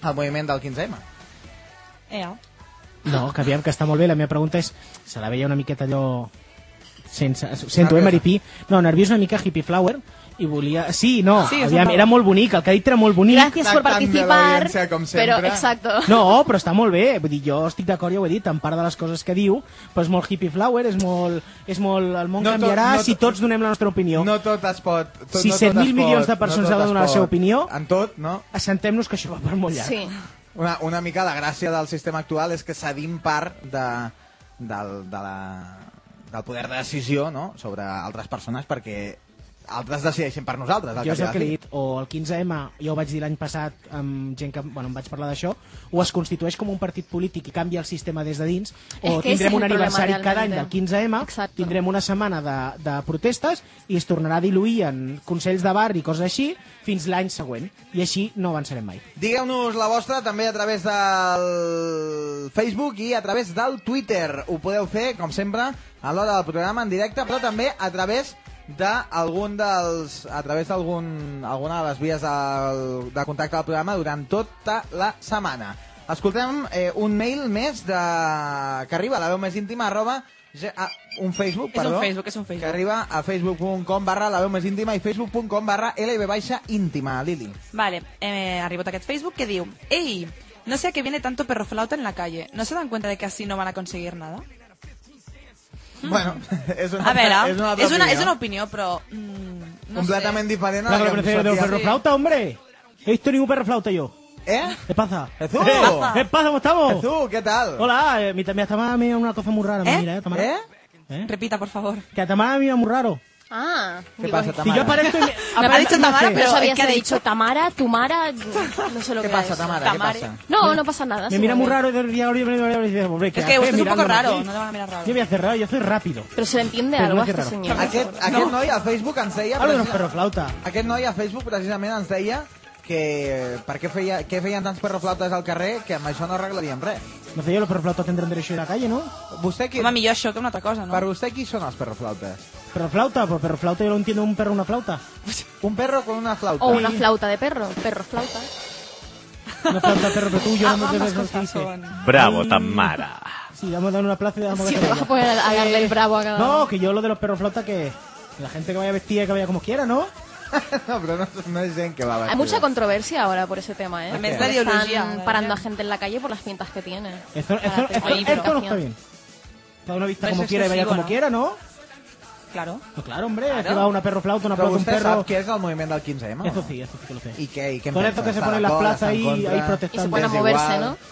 Speaker 4: al moviment del 15M.
Speaker 6: Ea.
Speaker 7: No, que aviam que està molt bé. La meva pregunta és, se la veia una miqueta allò... Sense, ho sento, eh, Maripí? No, nerviós una mica hippie flower i volia... Sí, no,
Speaker 5: Sí,
Speaker 7: sí,
Speaker 5: és
Speaker 7: aviam,
Speaker 5: un
Speaker 7: era molt bonic, el que ha dit era molt bonic.
Speaker 5: Gràcies per participar. Però, exacto.
Speaker 7: No, però està molt bé. Vull dir, jo estic d'acord, ja ho he dit, en part de les coses que diu, però és molt hippie flower, és molt... És molt el món no
Speaker 4: No tot-
Speaker 7: canviarà
Speaker 4: no
Speaker 7: si
Speaker 4: tot-
Speaker 7: tots donem la nostra opinió.
Speaker 4: No tot es pot... Tot,
Speaker 7: si
Speaker 4: no tot
Speaker 7: 7.000
Speaker 4: es
Speaker 7: milions
Speaker 4: pot,
Speaker 7: de persones
Speaker 4: no tot
Speaker 7: han de
Speaker 4: es
Speaker 7: donar la seva
Speaker 4: pot.
Speaker 7: opinió,
Speaker 4: En tot, no?
Speaker 7: assentem-nos que això va per molt llarg.
Speaker 5: Sí.
Speaker 4: Una, una mica la gràcia del sistema actual és que cedim part de, del, de la, del poder de decisió no? sobre altres persones perquè altres decideixen per nosaltres. al
Speaker 7: Jo és el
Speaker 4: cap i a la
Speaker 7: que li
Speaker 4: fi.
Speaker 7: he dit, o el 15M, jo ho vaig dir l'any passat amb gent que bueno, em vaig parlar d'això, o es constitueix com un partit polític i canvia el sistema des de dins,
Speaker 5: És
Speaker 7: o
Speaker 5: que ese és
Speaker 7: tindrem un
Speaker 5: el problema, eh?
Speaker 7: aniversari cada any
Speaker 5: realmente.
Speaker 7: del 15M, tindrem una setmana de, de protestes i es tornarà a diluir en consells de barri i coses així fins l'any següent. I així no avançarem mai.
Speaker 4: Digueu-nos la vostra també a través del Facebook i a través del Twitter. Ho podeu fer, com sempre, a l'hora del programa en directe, però també a través d'algun dels... a través d'algun alguna de les vies del, de contacte del programa durant tota la setmana. Escoltem eh, un mail més de... que arriba a la veu més íntima arroba... ge- ah, un Facebook,
Speaker 6: És un
Speaker 4: perdó.
Speaker 6: Facebook, és un Facebook.
Speaker 4: Que arriba a facebook.com barra la veu més íntima i facebook.com barra lb baixa íntima, Lili.
Speaker 6: Vale, eh, ha arribat aquest Facebook que diu Ei, no sé a qué viene tanto perro flauta en la calle. ¿No se dan cuenta de que así no van a conseguir nada?
Speaker 4: Mm. Bueno, és una,
Speaker 6: A veure,
Speaker 4: és una, altra
Speaker 6: és una,
Speaker 4: opinió.
Speaker 6: és una opinió, però... Mm, no
Speaker 4: Completament
Speaker 6: sé.
Speaker 4: diferent a
Speaker 7: La
Speaker 4: la que
Speaker 7: preferencia
Speaker 4: em
Speaker 7: de un
Speaker 4: sortia.
Speaker 7: perro flauta, hombre. He visto ningún perro flauta yo.
Speaker 4: ¿Eh?
Speaker 7: ¿Qué pasa?
Speaker 4: Jesús.
Speaker 7: ¿Eh? ¿Qué pasa? ¿Cómo estamos?
Speaker 4: Jesús, ¿qué tal?
Speaker 7: Hola, eh, mi, mi Atamara me mira una cosa muy rara. me
Speaker 5: ¿Eh?
Speaker 7: Mira, eh, Tamara.
Speaker 5: ¿Eh?
Speaker 6: Repita, por favor.
Speaker 7: Que Atamara me mira muy raro.
Speaker 5: Ah.
Speaker 4: ¿Qué pasa,
Speaker 7: Si yo
Speaker 4: Tamara?
Speaker 7: aparezco y me...
Speaker 5: Me ha dicho
Speaker 7: aparezco y me
Speaker 5: Tamara,
Speaker 7: hace-
Speaker 5: pero sabía que ha dicho Tamara, Tumara, no sé lo que
Speaker 4: ¿Qué
Speaker 5: era
Speaker 4: pasa,
Speaker 5: eso.
Speaker 4: Tamara? ¿Qué
Speaker 5: Tamare.
Speaker 4: pasa?
Speaker 5: No, no pasa nada.
Speaker 7: Me mira muy
Speaker 5: seguramente.
Speaker 7: raro y de- y ahora yo me- ahora me dice, hombre, ¿qué
Speaker 6: Es que
Speaker 7: haces
Speaker 6: usted es un poco
Speaker 7: mirándome
Speaker 6: raro,
Speaker 7: aquí?
Speaker 6: no te van a mirar raro.
Speaker 7: Yo voy a cerrar, yo soy rápido.
Speaker 5: Pero se le entiende
Speaker 7: Pero
Speaker 5: algo
Speaker 7: no
Speaker 5: a
Speaker 7: hace
Speaker 5: este
Speaker 7: raro.
Speaker 5: señor.
Speaker 4: Aquest, aquest noi a Facebook ens deia...
Speaker 7: Hablo de los perroflauta.
Speaker 4: Aquest noi a Facebook precisament ens deia que eh, per què, feia, què feien tants perroflautes al carrer que amb això no arreglaríem res.
Speaker 7: No sé yo, los perroflautas tendrán derecho a ir a la calle, ¿no?
Speaker 4: Vostè qui,
Speaker 6: Home, millor això que una altra cosa, no?
Speaker 4: per vostè qui són els perroflautes?
Speaker 7: Perroflauta, pues perroflauta yo lo entiendo un perro una flauta.
Speaker 4: Un perro con una flauta.
Speaker 5: O una flauta de perro, perro flauta.
Speaker 7: Una planta de perro, pero tú y yo no
Speaker 5: Ah,
Speaker 7: hemos de
Speaker 5: ambas
Speaker 7: ver
Speaker 5: cosas son.
Speaker 8: Bravo, Tamara.
Speaker 7: Sí, vamos a dar una plaza y vamos
Speaker 5: Sí,
Speaker 7: a
Speaker 5: te vas a poner a- a darle el bravo a cada
Speaker 7: No, que yo lo de los perros flauta que que la gente que vaya vestida, que vaya como quiera, ¿no?
Speaker 4: no, pero no, no es gent que va a
Speaker 5: Hay mucha controversia ahora por ese tema, ¿eh?
Speaker 7: A més
Speaker 5: Porque
Speaker 7: de ideologia,
Speaker 5: Están
Speaker 7: ¿verdad?
Speaker 5: parando a gente en la calle por las pintas que tiene.
Speaker 7: Esto,
Speaker 5: Para
Speaker 7: esto,
Speaker 5: hacer
Speaker 7: esto-
Speaker 5: política.
Speaker 7: esto no está bien. Cada uno vista
Speaker 5: Pero
Speaker 7: como
Speaker 5: es
Speaker 7: quiera y vaya
Speaker 5: excesivo,
Speaker 7: como
Speaker 5: ¿no?
Speaker 7: quiera, ¿no?
Speaker 6: Claro.
Speaker 7: Pues claro, hombre,
Speaker 4: Claro.
Speaker 7: aquí va una perro flauta, una
Speaker 4: Però
Speaker 7: flauta, un
Speaker 4: vostè
Speaker 7: perro.
Speaker 4: sap què és el moviment del 15M?
Speaker 7: Eso sí, eso sí que lo sé.
Speaker 4: ¿Y qué, y qué
Speaker 7: Con esto que se pone en la plaza ahí, ahí protestando.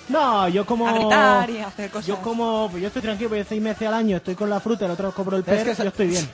Speaker 7: No, yo como.
Speaker 4: A gritar y a hacer cosas.
Speaker 7: Yo como. Yo estoy tranquilo, porque seis meses al año estoy con la fruta, el otro cobro el
Speaker 4: Es
Speaker 7: perro,
Speaker 4: que se-
Speaker 7: yo estoy bien.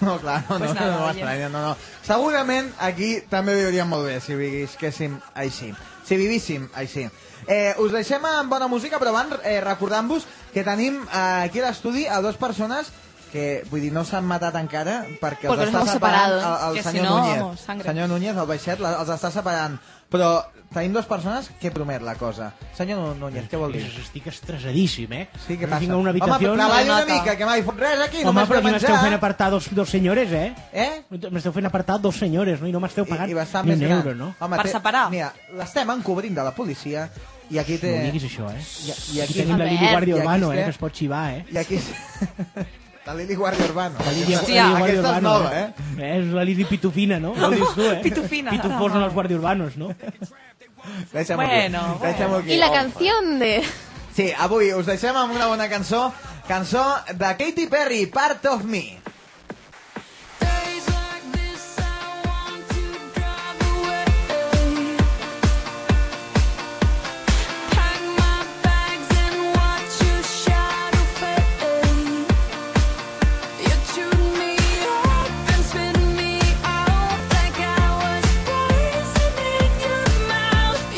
Speaker 4: No, clar, no,
Speaker 7: Pues
Speaker 4: no,
Speaker 7: nada,
Speaker 4: no, no,
Speaker 7: oye.
Speaker 4: estranya, no, no. Segurament aquí també viuríem molt bé si visquéssim així. Si vivíssim així. Eh, us deixem amb bona música, però abans eh, recordant-vos que tenim eh, aquí a l'estudi a dues persones que, vull dir, no s'han matat encara perquè
Speaker 5: Porque los
Speaker 4: els està
Speaker 5: hemos
Speaker 4: separant
Speaker 5: separado,
Speaker 4: el, el
Speaker 5: que si
Speaker 4: senyor
Speaker 5: no,
Speaker 4: Núñez.
Speaker 5: vamos, sangre.
Speaker 4: senyor Núñez, el baixet, la, els està separant. Però tenim dues persones que promet la cosa. Senyor Núñez, què vol dir?
Speaker 7: Estic estresadíssim, eh?
Speaker 4: Sí, què
Speaker 7: Jo
Speaker 4: passa?
Speaker 7: tinc una habitació-
Speaker 4: Home,
Speaker 7: Una
Speaker 4: treballa una
Speaker 7: nota.
Speaker 4: mica, que m'ha dit res aquí,
Speaker 7: Home,
Speaker 4: només
Speaker 7: però
Speaker 4: per
Speaker 7: aquí m'esteu
Speaker 4: menjar.
Speaker 7: fent apartar dos, dos senyores, eh?
Speaker 4: Eh?
Speaker 7: M'esteu fent apartar dos senyores, no? I no m'esteu pagant
Speaker 4: I va estar
Speaker 7: ni
Speaker 4: més
Speaker 7: un
Speaker 4: gran.
Speaker 7: euro, no?
Speaker 4: Home, té- Mira, l'estem encobrint de la policia i aquí té...
Speaker 7: No ho diguis, això, eh?
Speaker 4: I,
Speaker 7: I
Speaker 4: i aquí,
Speaker 7: aquí tenim la
Speaker 4: i
Speaker 7: Lili Guàrdia
Speaker 4: aquí
Speaker 7: Urbano,
Speaker 4: té-
Speaker 7: eh? Que es pot xivar, eh?
Speaker 4: I aquí... la Lili Guàrdia Urbano.
Speaker 7: La Lili,
Speaker 4: Hòstia,
Speaker 7: la Lili Guàrdia
Speaker 4: aquesta és
Speaker 7: Urbano,
Speaker 4: nova, eh?
Speaker 7: eh? És la Lili Pitufina, no? Ho dius tu, eh?
Speaker 5: Pitufina.
Speaker 7: Pitufos són els Guàrdia Urbanos, no?
Speaker 4: Deixa'm
Speaker 5: Bueno,
Speaker 4: aquí. Deixa'm aquí.
Speaker 5: Y la
Speaker 4: Oh.
Speaker 5: canción de...
Speaker 4: Sí, avui us deixem amb una bona cançó. Cançó de Katy Perry, Part of Me.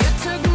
Speaker 2: Now look Oh,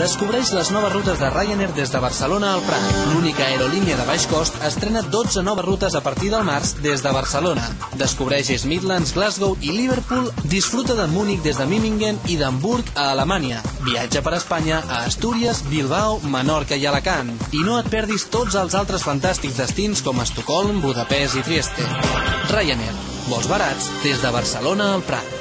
Speaker 13: Descobreix les noves rutes de Ryanair des de Barcelona al Prat. L'única aerolínia de baix cost estrena 12 noves rutes a partir del març des de Barcelona. Descobreix East Midlands, Glasgow i Liverpool. Disfruta de Múnich des de Memmingen i d'Hamburg a Alemanya. Viatja per Espanya a Astúries, Bilbao, Menorca i Alacant. I no et perdis tots els altres fantàstics destins com Estocolm, Budapest i Trieste. Ryanair. Vols barats des de Barcelona al Prat.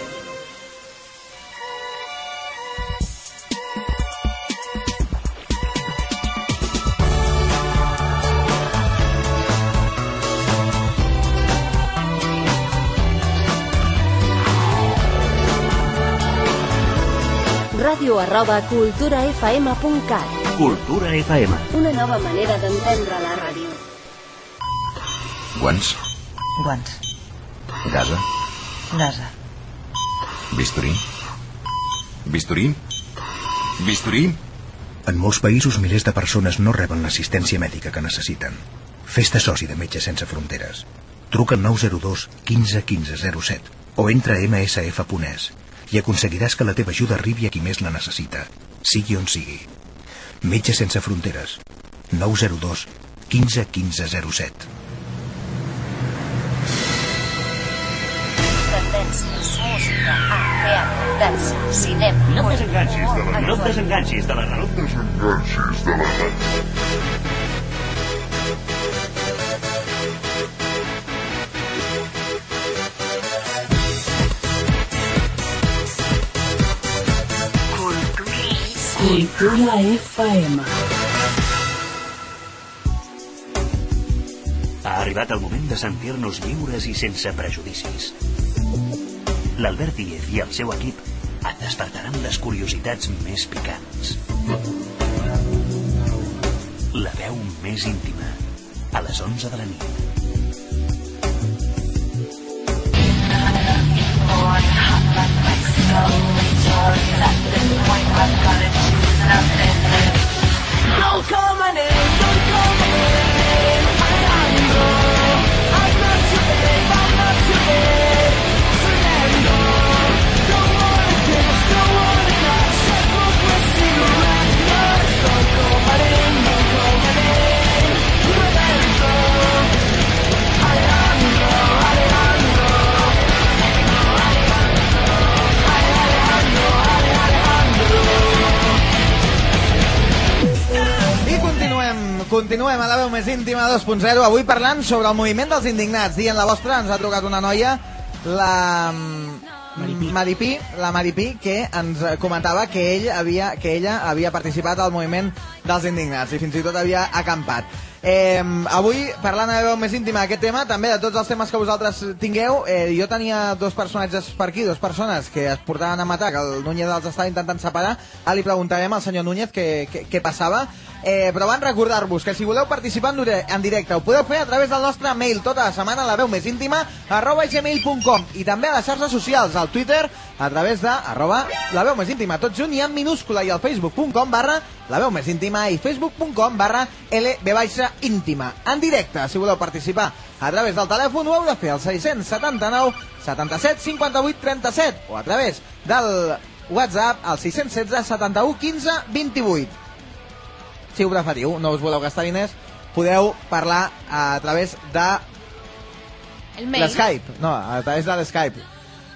Speaker 14: Ràdio arroba culturafm.cat
Speaker 1: Cultura FM.
Speaker 14: Una nova manera d'entendre la ràdio.
Speaker 15: Guants,
Speaker 16: Guants.
Speaker 15: gasa,
Speaker 16: Gasa.
Speaker 15: bisturí. Bisturí? Bisturí?
Speaker 17: En molts països, milers de persones no reben l'assistència mèdica que necessiten. Fes-te soci de Metges Sense Fronteres. Truca al 902 15 15 07 o entra a msf.es i aconseguiràs que la teva ajuda arribi a qui més la necessita, sigui on sigui. Metges Sense Fronteres. 902 15 15 07.
Speaker 14: Tendències, música, art, teatre, dansa, cinema...
Speaker 1: No et desenganxis de la No et desenganxis de la ràdio. No et desenganxis de la ràdio.
Speaker 2: Cultura FM.
Speaker 1: Ha arribat el moment de sentir-nos lliures i sense prejudicis. L'Albert Díez i el seu equip et despertaran les curiositats més picants. La veu més íntima, a les 11 de la nit.
Speaker 2: Don't call my name. Don't call my name. I'm not your babe. I'm not your babe. I'm not your babe. Fernando, don't wanna kiss, don't wanna touch. Just smoke my cigarette. No, don't call my name. Don't call my name. Fernando, Alejandro, Alejandro.
Speaker 4: I continuem, continuem a la veu més íntima 2.0, avui parlant sobre el moviment dels indignats. I en la vostra ens ha trucat una noia, la... Maripí. Maripí, la Maripí, que ens eh, comentava que ell havia, que ella havia participat al moviment dels indignats i fins i tot havia acampat. Eh, avui, parlant de veu més íntima d'aquest tema, també de tots els temes que vosaltres tingueu, eh, jo tenia dos personatges per aquí, dos persones que es portaven a matar, que el Núñez els estava intentant separar, ara li preguntarem al senyor Núñez què, què, què passava, eh, però van recordar-vos que si voleu participar en dire- en directe ho podeu fer a través del nostre mail tota la setmana, la veu més íntima, arroba gmail.com i també a les xarxes socials, al Twitter, a través de arroba la veu més íntima, tot junt i en minúscula i al facebook.com barra la veu més íntima i facebook.com barra lb baixa íntima. En directe, si voleu participar a través del telèfon ho heu de fer al 679 77 58 37 o a través del WhatsApp al 616 71 15 28 si ho preferiu, no us voleu gastar diners, podeu parlar a través de
Speaker 5: El mail.
Speaker 4: l'Skype. No, a través de l'Skype.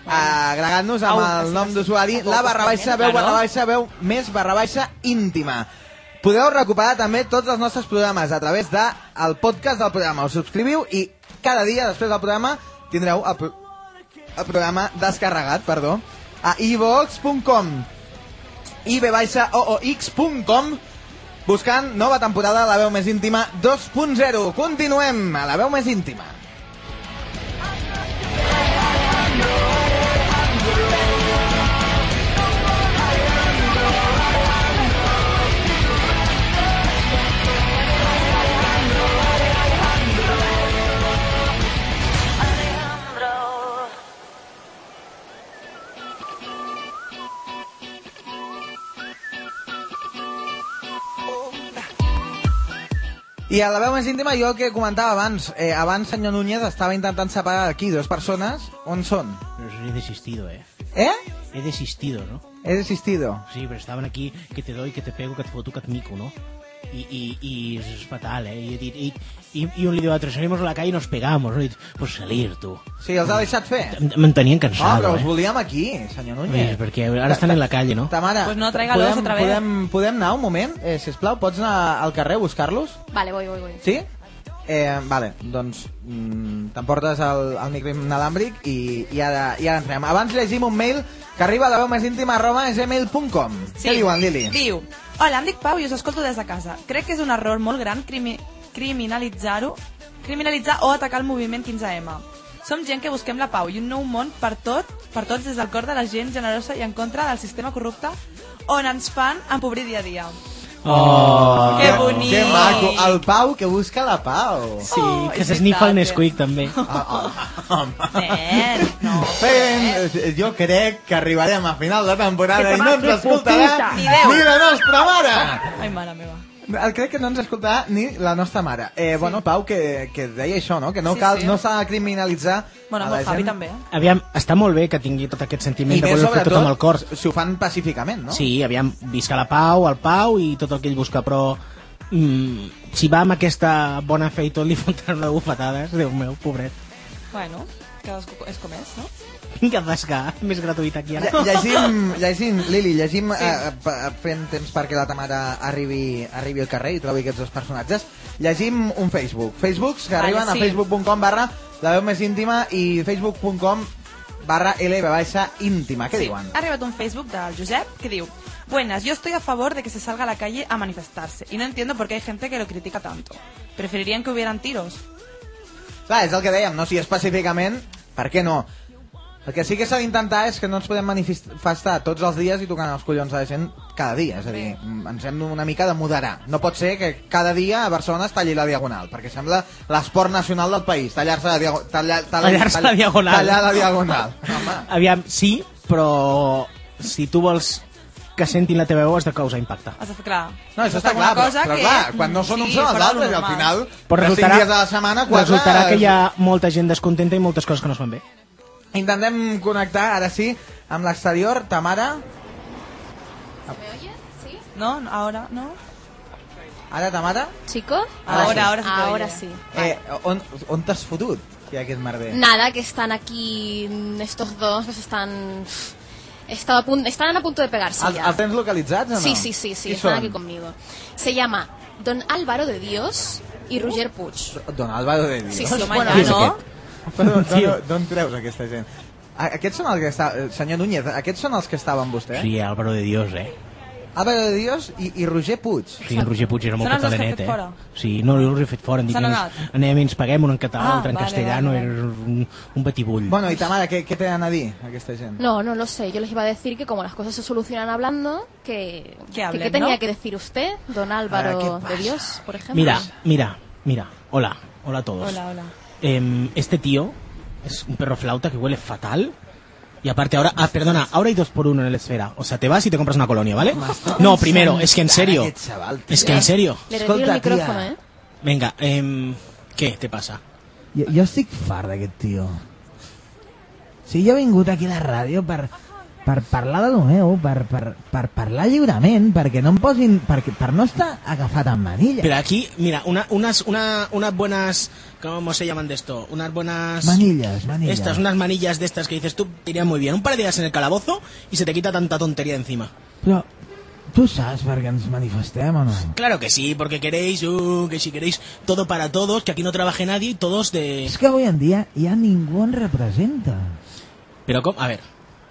Speaker 4: Agregant-nos amb
Speaker 5: Au,
Speaker 4: el nom d'usuari la barra baixa veu
Speaker 5: Claro.
Speaker 4: barra baixa veu més barra baixa íntima. Podeu recuperar també tots els nostres programes a través del de el podcast del programa. Us subscriviu i cada dia després del programa tindreu el, pro el programa descarregat, perdó, a ivox.com ibbaixaoox.com buscant nova temporada de La veu més íntima 2.0. Continuem a La veu més íntima. I a la veu més íntima, jo el que comentava abans, eh, abans senyor Núñez estava intentant separar aquí dues persones. On són?
Speaker 7: He desistido, eh.
Speaker 4: Eh?
Speaker 7: He desistido, ¿no?
Speaker 4: He desistido.
Speaker 7: Sí, pero estaven aquí, que te doy, que te pego, que et foto, que et mico, no? I, i, i és fatal, eh? I, he dit- i, i, i un li diu a l'altre, salimos a la calle i nos pegamos, no? I dit, pues salir, tu.
Speaker 4: Sí, els ha deixat fer.
Speaker 7: Mantenien
Speaker 4: Ah,
Speaker 7: cansado,
Speaker 4: però els
Speaker 7: eh?
Speaker 4: volíem aquí, senyor
Speaker 7: Eh,
Speaker 4: Núñez.
Speaker 7: perquè ara estan en la calle, no?
Speaker 4: Ta mare,
Speaker 6: Pues no, tráigalos
Speaker 4: podem,
Speaker 6: otra vez.
Speaker 4: podem, podem anar un moment? Eh, sisplau, pots anar al carrer a buscar-los?
Speaker 5: Vale, voy, voy, voy.
Speaker 4: Sí? Eh, vale, doncs mm, t'emportes el, el micro inalàmbric i, i, ara, i ara entrem. Abans llegim un mail que arriba a la veu més íntima arroba gmail.com. Què diuen, Lili?
Speaker 6: Diu, hola, em dic Pau i us escolto des de casa. Crec que és un error molt gran crimi criminalitzar-ho, criminalitzar o atacar el moviment 15M. Som gent que busquem la pau i un nou món per tot, per tots des del cor de la gent generosa i en contra del sistema corrupte on ens fan empobrir dia a dia.
Speaker 4: Ah.
Speaker 7: Oh,
Speaker 6: Que bonic.
Speaker 4: Que maco. El Pau que busca la Pau. Ah,
Speaker 7: Sí, que s'esnifa el Nesquik, també.
Speaker 4: Eh? Ben, eh, jo crec que arribarem a final de temporada
Speaker 6: Que
Speaker 4: i
Speaker 6: te
Speaker 4: no
Speaker 6: vas
Speaker 4: ¿eh? ens
Speaker 6: fer putita.
Speaker 4: escoltarà ni,
Speaker 6: Ni Déu.
Speaker 4: la nostra mare.
Speaker 6: Ai, mare meva.
Speaker 4: Eh, Crec que no ens escoltarà ni la nostra mare. Eh, bueno, Pau, que, que deia això, no? Que no
Speaker 6: Sí,
Speaker 4: cal,
Speaker 6: sí.
Speaker 4: no s'ha de criminalitzar
Speaker 6: Bueno,
Speaker 4: a
Speaker 6: amb
Speaker 4: la
Speaker 6: el Javi
Speaker 4: gent.
Speaker 6: també. eh?
Speaker 7: Aviam, està molt bé que tingui tot aquest sentiment
Speaker 4: I
Speaker 7: de
Speaker 4: més,
Speaker 7: voler fer tot amb el cor.
Speaker 4: sobretot, si ho fan pacíficament, no?
Speaker 7: Sí, aviam, visca la pau, el pau i tot el que ell busca, però mm, si va amb aquesta bona fe i tot li fotran una bufetada, eh? Déu meu, pobret.
Speaker 6: Bueno, cadascú és com és, no?
Speaker 7: Vinga, pescar, més gratuït aquí ara.
Speaker 4: Lle- Llegim, llegim, Lili, llegim eh, pa- fent temps perquè la Tamara arribi, arribi al carrer i trobi aquests dos personatges. Llegim un Facebook. Facebooks que
Speaker 13: Vale,
Speaker 4: arriben
Speaker 13: sí.
Speaker 4: a facebook.com barra la veu més íntima i facebook.com barra L baixa íntima. Què
Speaker 6: Sí.
Speaker 4: diuen?
Speaker 6: Ha arribat un Facebook del Josep que diu Buenas, yo estoy a favor de que se salga a la calle a manifestarse y no entiendo por qué hay gente que lo critica tanto. Preferirían que hubieran tiros.
Speaker 4: Clar, és el que dèiem, no? Si específicament, per què no? El que sí que s'ha d'intentar és que no ens podem manifestar tots els dies i tocant els collons a la gent cada dia. És a dir, mm, ens hem una mica de moderar. No pot ser que cada dia a Barcelona es talli la diagonal, perquè sembla l'esport nacional del país, tallar-se la, diago tallar, tallar,
Speaker 7: Tallar-se la
Speaker 4: tallar-
Speaker 7: diagonal.
Speaker 4: Tallar la diagonal.
Speaker 7: Aviam, sí, però si tu vols que sentin la teva veu has de causar impacte.
Speaker 6: Has de fer clar.
Speaker 4: No, això
Speaker 6: Has de
Speaker 4: està
Speaker 6: fer
Speaker 4: clar,
Speaker 6: una
Speaker 4: però,
Speaker 6: cosa
Speaker 4: però
Speaker 6: que-
Speaker 4: clar, quan no són
Speaker 6: Sí,
Speaker 4: uns són els
Speaker 6: fora del
Speaker 4: altres, i al
Speaker 6: normal.
Speaker 4: final,
Speaker 7: Però
Speaker 4: de cinc
Speaker 7: resultarà,
Speaker 4: dies a la setmana, quatre...
Speaker 7: resultarà que hi ha molta gent descontenta i moltes coses que no es fan bé.
Speaker 4: Intentem connectar, ara sí, amb l'exterior. Tamara,
Speaker 6: No, no, ahora no.
Speaker 4: ara Tamara,
Speaker 5: Chicos,
Speaker 4: Ahora sí.
Speaker 5: ahora,
Speaker 4: Ahora sí
Speaker 6: te
Speaker 5: ahora
Speaker 6: oye.
Speaker 5: sí.
Speaker 4: eh, on, on t'has fotut, que aquest merder?
Speaker 5: Nada, que están aquí mm, estos dos que se están... estaba a punto- están a punto de pegarse
Speaker 4: ¿Al
Speaker 5: ya.
Speaker 4: ¿Els tens localitzats o no?
Speaker 5: Sí, sí, sí, sí,
Speaker 4: Qui
Speaker 5: están
Speaker 4: són?
Speaker 5: aquí conmigo. Se llama Don Álvaro de Dios y Roger Puig.
Speaker 4: Don Álvaro de Dios.
Speaker 5: Sí, sí, bueno, no.
Speaker 4: Però, no, D'on treus aquesta gent? A- Aquests són els que està... eh, Senyor Núñez, aquests són els que estaven vostè?
Speaker 7: Sí, Álvaro de Dios, eh?
Speaker 4: Álvaro de Dios i, i Roger Puig.
Speaker 7: Sí, en Roger Puig era molt
Speaker 4: Són els dos que
Speaker 7: catalanet,
Speaker 4: han fet
Speaker 7: eh?
Speaker 4: fora.
Speaker 7: Sí, no, jo els he fet fora, em dic,
Speaker 4: S'han
Speaker 7: anem,
Speaker 4: anat.
Speaker 7: anem i ens paguem un en català,
Speaker 4: Ah,
Speaker 7: l'altre en
Speaker 4: vale,
Speaker 7: castellano,
Speaker 4: vale,
Speaker 7: era un, un batibull.
Speaker 4: Bueno, i ta mare, què, què tenen a dir, aquesta gent?
Speaker 5: No, no lo sé. Yo les iba a decir que como las cosas se solucionan hablando, que que- que
Speaker 6: hablen,
Speaker 5: qué tenía
Speaker 6: ¿no?
Speaker 5: que decir usted, Don
Speaker 7: Ah,
Speaker 6: Ahora,
Speaker 5: Álvaro
Speaker 6: ¿qué
Speaker 5: de Dios, por ejemplo.
Speaker 7: Mira, mira, mira, hola, hola a todos.
Speaker 5: Hola, hola.
Speaker 7: Em, este tío es un perro flauta que huele fatal. Y aparte ahora, ah, perdona, ahora hay dos por uno en la esfera. O sea, te vas y te compras una colonia, ¿vale? No, primero, es que en serio.
Speaker 4: Aquest Xaval, tia.
Speaker 7: Es que en serio.
Speaker 5: Le retiro el micrófono, ¿eh?
Speaker 7: Venga, em, ¿qué te pasa?
Speaker 18: Jo, jo estic fart d'aquest tio. Si jo he vingut aquí a la ràdio per, per parlar de lo meu, per, per, per parlar lliurement, perquè no em posin... Perquè, per no estar agafat amb manilles.
Speaker 7: Pero aquí, mira, una- unas, una- unas buenas, ¿cómo se llaman de esto? Unas buenas...
Speaker 18: Manilles, manilles.
Speaker 7: Estas, unas manillas de estas que dices tú, te irían muy bien. Un par de días en el calabozo y se te quita tanta tontería encima.
Speaker 18: Però tu saps per què ens manifestem o no?
Speaker 7: Claro que sí, porque queréis, uh, que si queréis todo para todos, que aquí no trabaje nadie y todos de...
Speaker 18: És que avui en dia ja ningú ens representa.
Speaker 7: Pero, ¿cómo? A ver,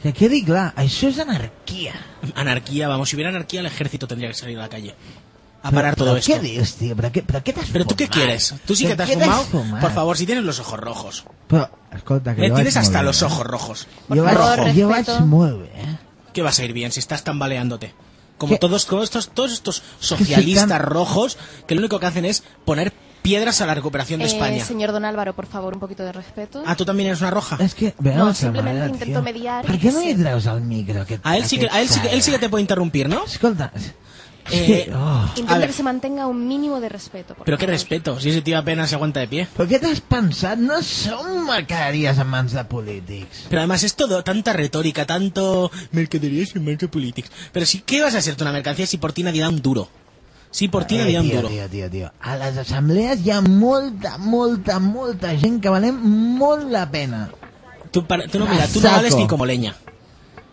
Speaker 18: Que quedi clar, això és anarquía.
Speaker 7: anarquía, vamos, si hubiera anarquía el ejército tendría que salir a la calle. A parar
Speaker 18: però,
Speaker 7: todo
Speaker 18: però
Speaker 7: esto.
Speaker 18: Què dius, tio? Però què, però què t'has
Speaker 7: ¿Pero tú qué
Speaker 18: fumat?
Speaker 7: quieres? ¿Tú sí que
Speaker 18: Però
Speaker 7: te has
Speaker 18: què
Speaker 7: fumado? Por favor, si tienes los ojos rojos.
Speaker 18: Però, escolta, que
Speaker 7: Me
Speaker 18: jo
Speaker 7: tienes
Speaker 18: vaig molt
Speaker 7: hasta
Speaker 18: bé,
Speaker 7: los
Speaker 18: eh?
Speaker 7: ojos rojos.
Speaker 18: Jo vaig, jo vaig molt bé. eh?
Speaker 7: ¿Qué vas a ir bien si estás tambaleándote? Como
Speaker 18: ¿Qué?
Speaker 7: todos, todos estos, todos estos
Speaker 18: si
Speaker 7: socialistas
Speaker 18: tan-
Speaker 7: rojos que lo único que hacen es poner piedras a la recuperación de
Speaker 5: Eh,
Speaker 7: España.
Speaker 5: señor Don Álvaro, por favor, un poquito de respeto.
Speaker 7: Ah, tú también eres una roja.
Speaker 18: Es que,
Speaker 5: No, simplemente intento mediar.
Speaker 18: Per què no li treus el micro? Aquest,
Speaker 7: A él sí que, a él sí que, él sí que te puede interrumpir, ¿no?
Speaker 18: Escolta,
Speaker 7: Eh, oh. A
Speaker 5: Intenta
Speaker 7: ver,
Speaker 5: que se mantenga un mínimo de respeto. por
Speaker 7: pero qué
Speaker 5: favor.
Speaker 7: respeto, si ese tío apenas se aguanta de pie.
Speaker 18: ¿Pero qué t'has pensat? No som mercaderies en mans de polítics.
Speaker 7: Pero además es todo, tanta retórica, tanto mercaderías y marca politics. Pero si, ¿qué vas a hacerte una mercancía si por ti nadie da un duro? Si por ti
Speaker 18: Eh,
Speaker 7: nadie da un
Speaker 18: tio,
Speaker 7: duro.
Speaker 18: tio, tio, tio. A les assemblees hi ha molta, molta, molta gent que valem molt la pena.
Speaker 7: Tú, para- tú no, mira, tú no
Speaker 18: Saco.
Speaker 7: vales ni como leña. Eh,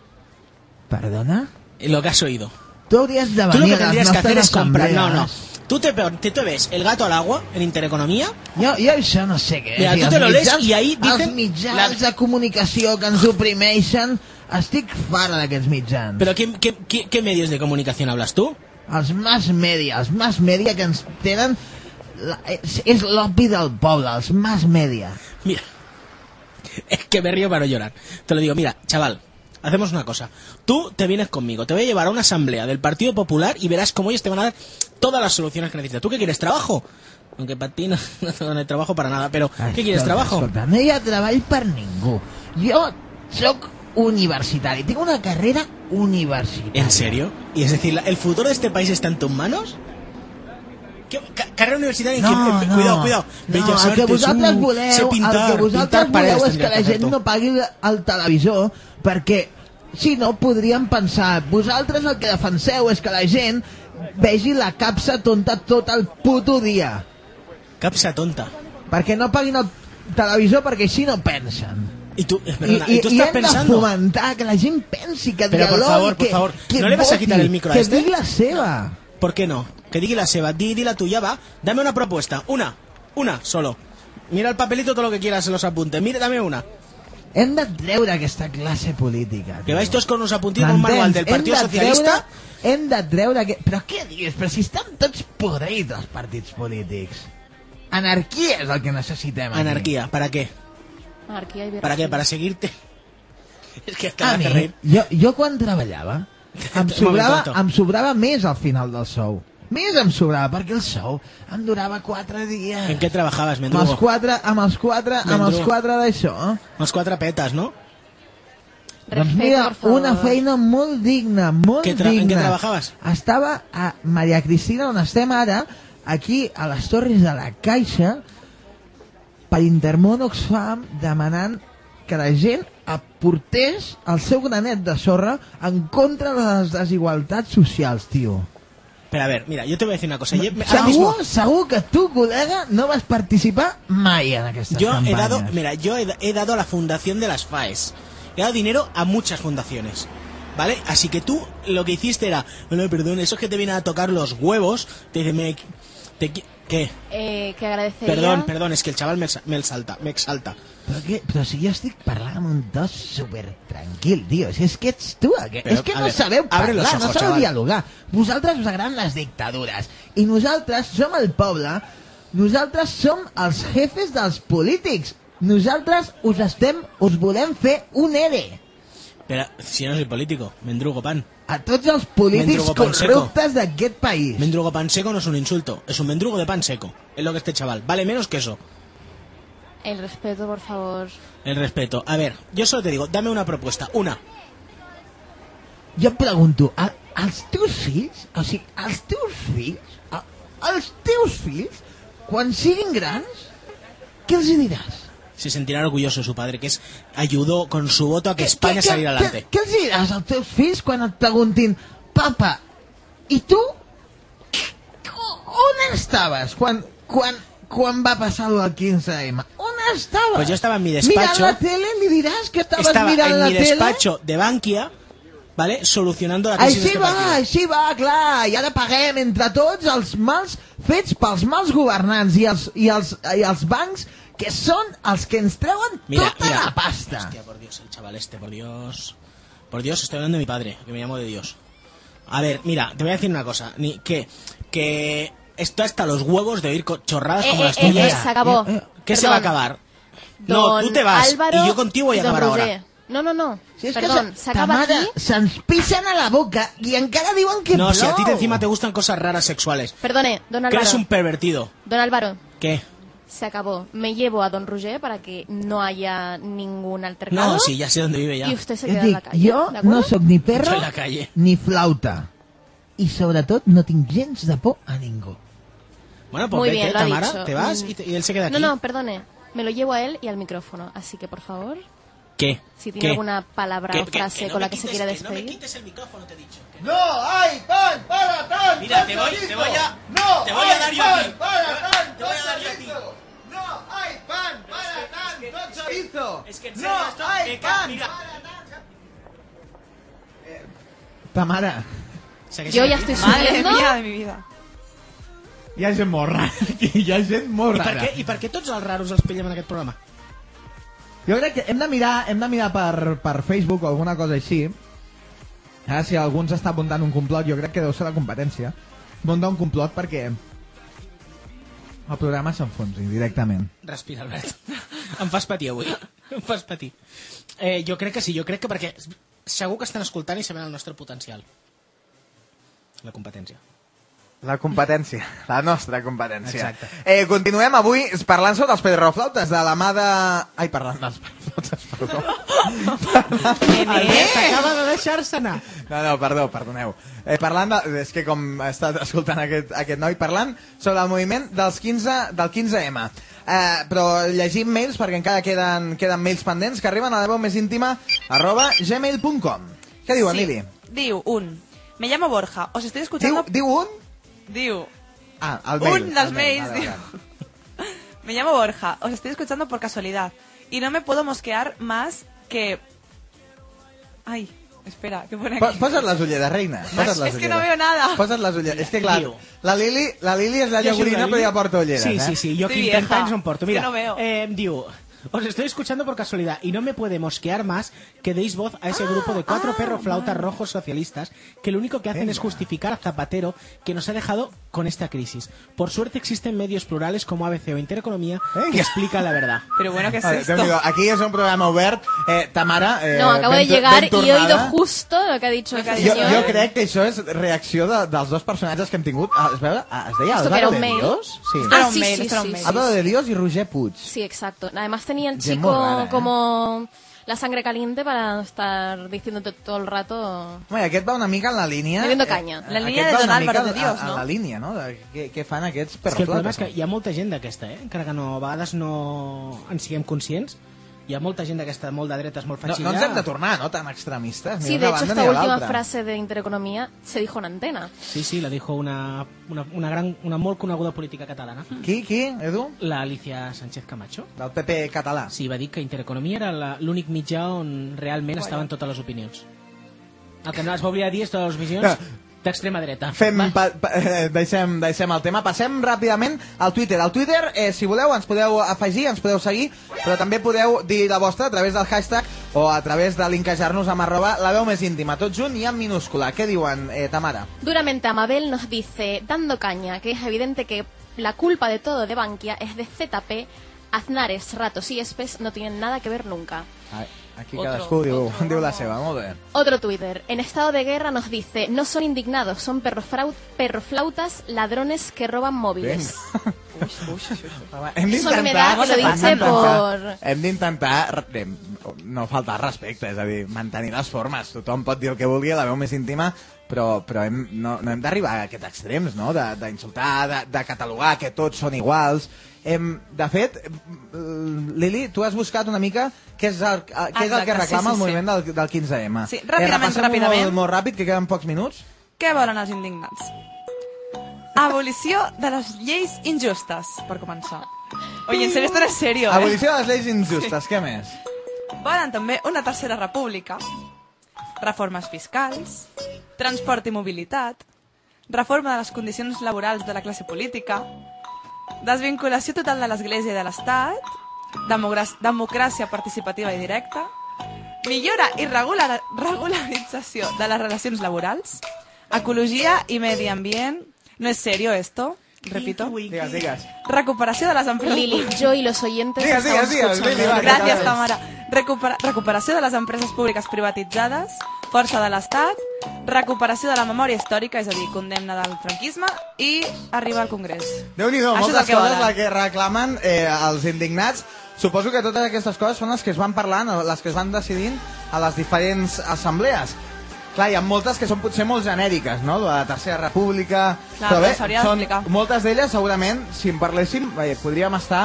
Speaker 18: ¿Perdona? Ah,
Speaker 7: Lo que has oído.
Speaker 18: Tu hauries de
Speaker 7: Tú lo
Speaker 18: venir
Speaker 7: que
Speaker 18: a
Speaker 7: tendrías
Speaker 18: les
Speaker 7: que
Speaker 18: nostres
Speaker 7: hacer es comprar. No,
Speaker 18: assemblees.
Speaker 7: no. Tú te, pe- te, te ves el gato al agua en Intereconomía.
Speaker 18: Jo, jo això no sé què.
Speaker 7: Mira, tu
Speaker 18: dir, els
Speaker 7: te lo lees
Speaker 18: mitjans-
Speaker 7: i ahí
Speaker 18: Els
Speaker 7: dicen
Speaker 18: mitjans de comunicació que ens oprimeixen... Estic fara d'aquests mitjans.
Speaker 7: ¿Pero qué, qué, qué- qué medios de comunicación hablas tú?
Speaker 18: Els mass media, els mass media que ens tenen... La, és és l'opi del poble, els mass media.
Speaker 7: Mira, es que me río para no llorar. Te lo digo, mira, chaval, hacemos una cosa. Tú te vienes conmigo, te voy a llevar a una asamblea del Partido Popular y verás cómo ellos te van a dar todas las soluciones que necesitas. ¿Tú qué quieres? ¿Trabajo? Aunque para ti no, no te dan el trabajo para nada, pero ¿qué quieres?
Speaker 18: Escolta,
Speaker 7: ¿Trabajo?
Speaker 18: Escolta, Ah, no hi ha treball per ningú. Jo sóc universitari, tinc una carrera universitària.
Speaker 7: ¿En serio? Y es decir, la- ¿el futuro de este país está en tus manos? ¿Qué- ca- carrera universitaria
Speaker 18: No,
Speaker 7: en que- eh,
Speaker 18: no.
Speaker 7: cuidado, cuidado.
Speaker 18: No,
Speaker 7: Bellas
Speaker 18: el que
Speaker 7: artes,
Speaker 18: vosaltres
Speaker 7: uh,
Speaker 18: voleu,
Speaker 7: sé pintar,
Speaker 18: el que vosaltres
Speaker 7: pintar paredes
Speaker 18: voleu és
Speaker 7: tendría
Speaker 18: que la
Speaker 7: hacer
Speaker 18: gent
Speaker 7: tú.
Speaker 18: no pagui el televisor perquè si no podríem pensar vosaltres el que defenseu és que la gent vegi la capsa tonta tot el puto dia
Speaker 7: Capsa tonta.
Speaker 18: perquè no paguin el televisor perquè així no pensen
Speaker 7: Y tú, eh, perdona, y, tú
Speaker 18: i
Speaker 7: estás
Speaker 18: hem
Speaker 7: pensando.
Speaker 18: de fomentar que la gent pensi que
Speaker 7: Però, per
Speaker 18: dialogui,
Speaker 7: favor, per
Speaker 18: que,
Speaker 7: favor,
Speaker 18: que
Speaker 7: no li vas a
Speaker 18: voti,
Speaker 7: quitar el micro a
Speaker 18: que
Speaker 7: este?
Speaker 18: digui la seva
Speaker 7: ¿Por qué no? Que diga la Seba, di, di la tuya, va. Dame una propuesta, una, una solo. Mira el papelito, todo lo que quieras en los apuntes. Mire, dame una.
Speaker 18: hem de treure aquesta classe política
Speaker 7: Que vais todos con unos apuntitos, un
Speaker 18: M'entens?
Speaker 7: manual del
Speaker 18: Doncs Hem
Speaker 7: Partido
Speaker 18: de
Speaker 7: Socialista.
Speaker 18: treure- Hem de treure... Que... Però què dius? Però si estan tots podrits els partits polítics. Anarquia és el que necessitem. aquí.
Speaker 7: Anarquía, ¿para qué?
Speaker 5: Anarquía y
Speaker 7: ¿Para qué?
Speaker 5: violación.
Speaker 7: Para seguirte. Es
Speaker 5: Ah,
Speaker 7: que hasta
Speaker 18: A
Speaker 7: me hace
Speaker 18: mi,
Speaker 7: reír.
Speaker 18: jo, jo quan treballava, em
Speaker 7: Un
Speaker 18: sobrava,
Speaker 7: momento.
Speaker 18: em sobrava més al final del sou. Més em sobrava, perquè el sou em durava 4 dies.
Speaker 7: ¿En qué trabajabas,
Speaker 18: Amb els
Speaker 7: Mendrugo?
Speaker 18: 4, amb els 4, amb els
Speaker 7: Mendrugo.
Speaker 18: 4 d'això. eh?
Speaker 7: Unas cuatro petas, ¿no?
Speaker 18: Doncs mira,
Speaker 5: por favor.
Speaker 18: una feina molt digna, molt
Speaker 7: Què tra-
Speaker 18: digna.
Speaker 7: en què trebajaves?
Speaker 18: Estava a Maria Cristina, on estem ara, aquí a les Torres de la Caixa, per Intermón Oxfam, demanant que la gent aportés el seu granet de sorra en contra de les desigualtats socials, tio.
Speaker 7: Pero a ver, mira, yo te voy a decir una cosa. Yo, me- ahora mismo,
Speaker 18: Segur, segur que tu, col·lega, no vas participar mai en aquestes
Speaker 7: yo he
Speaker 18: campanyes.
Speaker 7: dado, mira, yo he, he dado a la fundación de las FAES. He dado dinero a muchas fundaciones. ¿Vale? Así que tú lo que hiciste era, bueno, perdón, esos que te vienen a tocar los huevos, te dicen, me- te qui- ¿qué?
Speaker 5: Eh, que agradecería...
Speaker 7: Perdón, perdón, es que el chaval me, exa- me exalta, me exalta.
Speaker 18: Però, què? però si jo estic parlant amb un dos super tranquil, tio. Si és que ets tu, que...
Speaker 7: Però,
Speaker 18: és que
Speaker 7: a
Speaker 18: no
Speaker 7: veure,
Speaker 18: sabeu
Speaker 7: abre
Speaker 18: parlar,
Speaker 7: los
Speaker 18: no
Speaker 7: ojos,
Speaker 18: sabeu
Speaker 7: chaval.
Speaker 18: dialogar. Vosaltres us agraden les dictadures i nosaltres som el poble, nosaltres som els jefes dels polítics. Nosaltres us estem, us volem fer un ERE
Speaker 7: Pero si yo no soy político, mendrugo pan.
Speaker 18: a tots els polítics
Speaker 7: Mendrugo Panseco.
Speaker 18: corruptes d'aquest país.
Speaker 7: Mendrugo pan seco no es un insulto, es un mendrugo de pan seco. Es lo que este chaval, vale menos que eso.
Speaker 5: El respeto, por favor.
Speaker 7: El respeto. A ver, yo solo te digo, dame una propuesta, una.
Speaker 18: Jo em pregunto, a, els teus fills, o sigui, els teus fills, a, els teus fills, quan siguin grans, què els hi diràs?
Speaker 7: Se sentirá orgulloso su padre, que es ayudó con su voto a que
Speaker 18: Què-
Speaker 7: España
Speaker 18: què-
Speaker 7: saliera adelante.
Speaker 18: Què, què els diràs als teus fills quan et preguntin, papa, i tu? On estaves quan, quan, quan va passar el del 15M? On estaves?
Speaker 7: Pues yo estaba en mi
Speaker 18: Mirant
Speaker 7: despacho.
Speaker 18: la tele, li diràs que estaves
Speaker 7: Estaba
Speaker 18: mirant
Speaker 7: en
Speaker 18: la
Speaker 7: mi
Speaker 18: tele?
Speaker 7: despacho de Bankia, ¿vale? Solucionando la crisis de
Speaker 18: Així
Speaker 7: este
Speaker 18: va,
Speaker 7: país.
Speaker 18: així va, clar, i ara paguem entre tots els mals fets pels mals governants i els, i els, i els bancs que són els que ens treuen
Speaker 7: Mira,
Speaker 18: tota
Speaker 7: mira.
Speaker 18: la pasta.
Speaker 7: Hostia, por Dios, el chaval este, por Dios. Por Dios, estoy hablando de mi padre, que me llamo de Dios. A ver, mira, te voy a decir una cosa. Ni, que, que esto hasta los huevos de oír co- chorradas
Speaker 5: Eh,
Speaker 7: como
Speaker 5: eh,
Speaker 7: las
Speaker 5: eh,
Speaker 7: tuyas.
Speaker 5: eh, se acabó.
Speaker 7: ¿Qué se va a
Speaker 5: Perdón.
Speaker 7: acabar? no,
Speaker 5: Don
Speaker 7: tú te vas
Speaker 5: Álvaro
Speaker 7: y yo contigo voy a
Speaker 5: y don
Speaker 7: acabar
Speaker 5: Roger.
Speaker 7: ahora.
Speaker 5: No, no, no.
Speaker 18: Si és
Speaker 5: Perdón, se
Speaker 18: que se, ta
Speaker 5: acaba
Speaker 18: mare,
Speaker 5: aquí.
Speaker 18: se'ns pissen a la boca i encara diuen que
Speaker 7: no, si a ti te
Speaker 18: plou.
Speaker 7: encima te gustan cosas raras sexuales.
Speaker 5: Perdone, don
Speaker 7: Que
Speaker 5: Álvaro.
Speaker 7: eres un pervertido.
Speaker 5: Don Álvaro,
Speaker 7: ¿Qué?
Speaker 5: se acabó. Me llevo a don Roger para que no haya ningún altercado.
Speaker 7: No, sí, ya sé dónde vive ya.
Speaker 5: Y usted se
Speaker 18: Jo
Speaker 5: queda
Speaker 18: et
Speaker 5: en
Speaker 18: dic,
Speaker 5: la calle.
Speaker 18: jo
Speaker 5: ¿de
Speaker 18: no
Speaker 5: acuerdo?
Speaker 18: sóc ni
Speaker 7: Estoy
Speaker 18: perro
Speaker 7: en la calle.
Speaker 18: ni flauta. i sobretot no tinc gens de por a ningú.
Speaker 7: Bueno, pues
Speaker 5: Muy
Speaker 7: vete,
Speaker 5: bien, lo ha
Speaker 7: Tamara,
Speaker 5: dicho. Mm.
Speaker 7: te vas y, te- y él se queda aquí.
Speaker 5: No, no, perdone. Me lo llevo a él y al micrófono. Así que, por favor,
Speaker 7: ¿Qué?
Speaker 5: si tiene
Speaker 7: ¿Qué?
Speaker 5: alguna palabra
Speaker 7: Que-
Speaker 5: o
Speaker 7: que-
Speaker 5: frase
Speaker 7: que no
Speaker 5: con
Speaker 7: me
Speaker 5: la que se
Speaker 7: quites-
Speaker 5: quiera
Speaker 7: que no me
Speaker 5: despedir.
Speaker 7: quites el micrófono, te he dicho.
Speaker 4: ¡No hay pan para tanto!
Speaker 7: Mira, te voy- te voy a-
Speaker 4: ¡No
Speaker 7: te voy a
Speaker 4: hay
Speaker 7: dar yo
Speaker 4: pan
Speaker 7: a ti.
Speaker 4: para tanto
Speaker 7: Te voy a dar yo a ti.
Speaker 4: chorizo! ¡No hay pan para tanto chorizo!
Speaker 7: es
Speaker 11: que en
Speaker 4: ¡No
Speaker 11: serio esto
Speaker 4: hay
Speaker 11: me ca-
Speaker 4: pan
Speaker 11: mira.
Speaker 4: para tanto!
Speaker 18: Tamara,
Speaker 5: Yo ya estoy
Speaker 6: Madre
Speaker 5: sudando.
Speaker 6: mía de mi vida.
Speaker 18: hi ha gent molt rara. aquí, Hi ha gent molt
Speaker 7: I per,
Speaker 18: rara.
Speaker 7: què, I per què tots els raros els pillem en aquest programa?
Speaker 18: Jo crec que hem de mirar, hem de mirar per, per Facebook o alguna cosa així. Ara, si algú ens està apuntant un complot, jo crec que deu ser la competència. Muntar un complot perquè el programa s'enfonsi directament.
Speaker 7: Respira, Albert. Em fas patir avui. Em fas patir. Eh, jo crec que sí, jo crec que perquè segur que estan escoltant i sabent el nostre potencial. La competència.
Speaker 4: La competència, la nostra competència.
Speaker 7: Exacte.
Speaker 4: Eh, continuem avui parlant sobre els pedroflautes de la mà de... Ai, parlant dels pedroflautes, perdó.
Speaker 7: Albert acaba de deixar-se anar.
Speaker 4: No, no, perdó, perdoneu. Eh, parlant de... És que com he estat escoltant aquest, aquest noi, parlant sobre el moviment dels 15, del 15M. Eh, però llegim mails perquè encara queden, queden mails pendents que arriben a la veu més íntima arroba gmail.com. Què
Speaker 6: Sí.
Speaker 4: diu, Emili?
Speaker 6: Diu un. Me llamo Borja. Os estoy
Speaker 4: Diu,
Speaker 6: escuchando.
Speaker 4: diu un?
Speaker 6: Diu.
Speaker 4: Ah, el mail.
Speaker 6: un
Speaker 4: el
Speaker 6: dels
Speaker 4: mail,
Speaker 6: mails.
Speaker 4: vale,
Speaker 6: diu.
Speaker 4: vale.
Speaker 6: Me llamo Borja. Os estoy escuchando por casualidad. Y no me puedo mosquear más que. Ay, espera, que pone
Speaker 4: Po-
Speaker 6: aquí.
Speaker 4: Posa't les ulleres, reina. Posa't les
Speaker 6: Es que no veo
Speaker 4: ulleres.
Speaker 6: nada.
Speaker 4: Posa't les ulleres. És que clar,
Speaker 7: Diu.
Speaker 4: la Lili, la Lili és la
Speaker 7: Jo soy
Speaker 4: llagorina,
Speaker 7: Lili.
Speaker 4: però ja porta ulleres.
Speaker 7: Sí,
Speaker 4: eh?
Speaker 7: sí, sí. Yo
Speaker 6: Estoy
Speaker 7: aquí 30
Speaker 6: vieja.
Speaker 7: años no porto.
Speaker 6: Yo
Speaker 7: Mira,
Speaker 6: no veo.
Speaker 7: eh, digo, os estoy escuchando por casualidad y no me puede mosquear más que deis voz a ese grupo de
Speaker 6: Ah,
Speaker 7: cuatro perroflautas rojos socialistas que lo único que hacen es justificar a Zapatero que nos ha dejado con esta crisis. Por suerte existen medios plurales como ABC o Intereconomía que explican la verdad.
Speaker 6: Pero bueno, ¿qué es
Speaker 4: A ver,
Speaker 6: esto?
Speaker 4: Déu-n'hi-do. Aquí és un programa obert. Eh, Tamara, eh,
Speaker 5: No, acabo
Speaker 4: ben
Speaker 5: de
Speaker 4: tu-
Speaker 5: llegar
Speaker 4: ben
Speaker 5: y he oído
Speaker 4: tornada.
Speaker 5: justo lo que ha dicho el
Speaker 4: Jo,
Speaker 5: señor.
Speaker 4: jo crec que això és reacció de, dels dos personatges que hem tingut. Ah, Es, veu, ah, es deia
Speaker 5: Esto que era
Speaker 4: Álvaro
Speaker 5: un
Speaker 4: de
Speaker 5: mail.
Speaker 4: Dios? Sí.
Speaker 5: Ah,
Speaker 6: un
Speaker 5: sí,
Speaker 6: mail,
Speaker 5: sí,
Speaker 6: esto era un
Speaker 5: sí,
Speaker 6: mail.
Speaker 5: sí.
Speaker 4: Álvaro de Dios i Roger Puig.
Speaker 5: Sí, exacto. Además tenía el
Speaker 4: Gente
Speaker 5: chico
Speaker 4: muy rara, ¿eh?
Speaker 5: como la sangre caliente para estar diciéndote todo el rato.
Speaker 4: Home, aquest va una mica en la línia...
Speaker 5: Bebiendo caña.
Speaker 4: eh,
Speaker 6: La línia
Speaker 4: aquest
Speaker 6: de
Speaker 4: va una
Speaker 6: Don
Speaker 4: mica
Speaker 6: Álvaro de
Speaker 4: en-
Speaker 6: Dios,
Speaker 4: en-
Speaker 6: no?
Speaker 4: En la línia, no? De, què, què fan aquests
Speaker 7: És que el problema
Speaker 4: perroflates?
Speaker 7: és que hi ha molta gent d'aquesta, eh? Encara que no, a vegades no en siguem conscients, hi ha molta gent d'aquesta, molt de dretes, molt
Speaker 4: No,
Speaker 7: fachilla.
Speaker 4: no ens hem de tornar, no?, tan extremistes. Ni
Speaker 5: Sí,
Speaker 4: una
Speaker 5: de hecho,
Speaker 4: banda
Speaker 5: esta
Speaker 4: ni a
Speaker 5: última
Speaker 4: l'altra.
Speaker 5: frase de Intereconomía se dijo en antena.
Speaker 7: Sí, sí, la dijo una, una, una, gran, una molt coneguda política catalana.
Speaker 4: Mm. Qui, qui, Edu?
Speaker 7: La Alicia Sánchez Camacho.
Speaker 4: Del PP català.
Speaker 7: Sí, va dir que Intereconomia era la- l'únic mitjà on realment
Speaker 6: Guai.
Speaker 5: eh?
Speaker 7: estaven totes les opinions. El que no es va oblidar dir és totes les opinions d'extrema dreta.
Speaker 4: Fem,
Speaker 7: Va.
Speaker 4: pa, pa, eh, deixem, deixem el tema. Passem ràpidament al Twitter. Al Twitter, eh, si voleu, ens podeu afegir, ens podeu seguir, però també podeu dir la vostra a través del hashtag o a través de linkejar-nos amb arroba la veu més íntima, tot junt i en minúscula. Què diuen, eh, Tamara?
Speaker 5: Duramente Amabel nos dice, dando caña, que es evidente que la culpa de todo de Bankia es de ZP, Aznares, Ratos y Espes no tienen nada que ver nunca.
Speaker 4: Aquí
Speaker 6: Otro,
Speaker 4: cadascú diu,
Speaker 6: otro,
Speaker 4: diu la
Speaker 6: vamos.
Speaker 4: seva, molt bé.
Speaker 5: Otro Twitter, en estado de guerra nos dice, no son indignados, son perrofrau- perroflautas, ladrones que roban móviles.
Speaker 4: Hem
Speaker 5: Eso me da que lo dice por...
Speaker 4: Hem d'intentar eh, no faltar al respecte, és a dir, mantenir les formes. Tothom pot dir el que vulgui, la veu més íntima, però, però hem, no, no hem d'arribar a aquests extrems, no? De- D'insultar, de, de, de catalogar que tots són iguals. Hem, de fet, eh, Lili, tu has buscat una mica què és el, eh, què és el que
Speaker 6: Exacte, sí,
Speaker 4: reclama
Speaker 6: sí,
Speaker 4: el
Speaker 6: sí.
Speaker 4: moviment del, del 15M.
Speaker 6: Sí, ràpidament,
Speaker 4: repassem-ho
Speaker 6: ràpidament.
Speaker 4: Molt, molt ràpid, que queden pocs minuts.
Speaker 6: Què volen els indignats? Abolició de les lleis injustes, per començar. Oye, en serio, esto no es serio, eh?
Speaker 4: Abolició de les lleis injustes, què més?
Speaker 6: Volen també una tercera república, reformes fiscals, transport i mobilitat, reforma de les condicions laborals de la classe política, desvinculació total de l'Església i de l'Estat, demogrà- democràcia participativa i directa, millora i regular regularització de les relacions laborals, ecologia i medi ambient... No es serio esto, repito.
Speaker 4: Digues, digues.
Speaker 6: Recuperació de les empreses...
Speaker 5: Lili, yo y los oyentes...
Speaker 4: Digas,
Speaker 5: estamos
Speaker 4: digas, digas,
Speaker 5: escuchando.
Speaker 4: Lili, va, que
Speaker 6: Gràcies,
Speaker 4: acabes.
Speaker 6: Tamara. Recupera recuperació de les empreses públiques privatitzades, força de l'Estat, recuperació de la memòria històrica, és a dir, condemna del franquisme, i arribar al Congrés.
Speaker 4: Déu-n'hi-do,
Speaker 6: Ah, Això és
Speaker 4: moltes
Speaker 6: el que
Speaker 4: coses
Speaker 6: volen.
Speaker 4: la que reclamen eh, els indignats. Suposo que totes aquestes coses són les que es van parlant, les que es van decidint a les diferents assemblees. Clar, hi ha moltes que són potser molt genèriques, no? La Tercera República...
Speaker 6: Clar, les hauria
Speaker 4: són,
Speaker 6: d'explicar.
Speaker 4: moltes d'elles segurament, si en parléssim, eh, podríem estar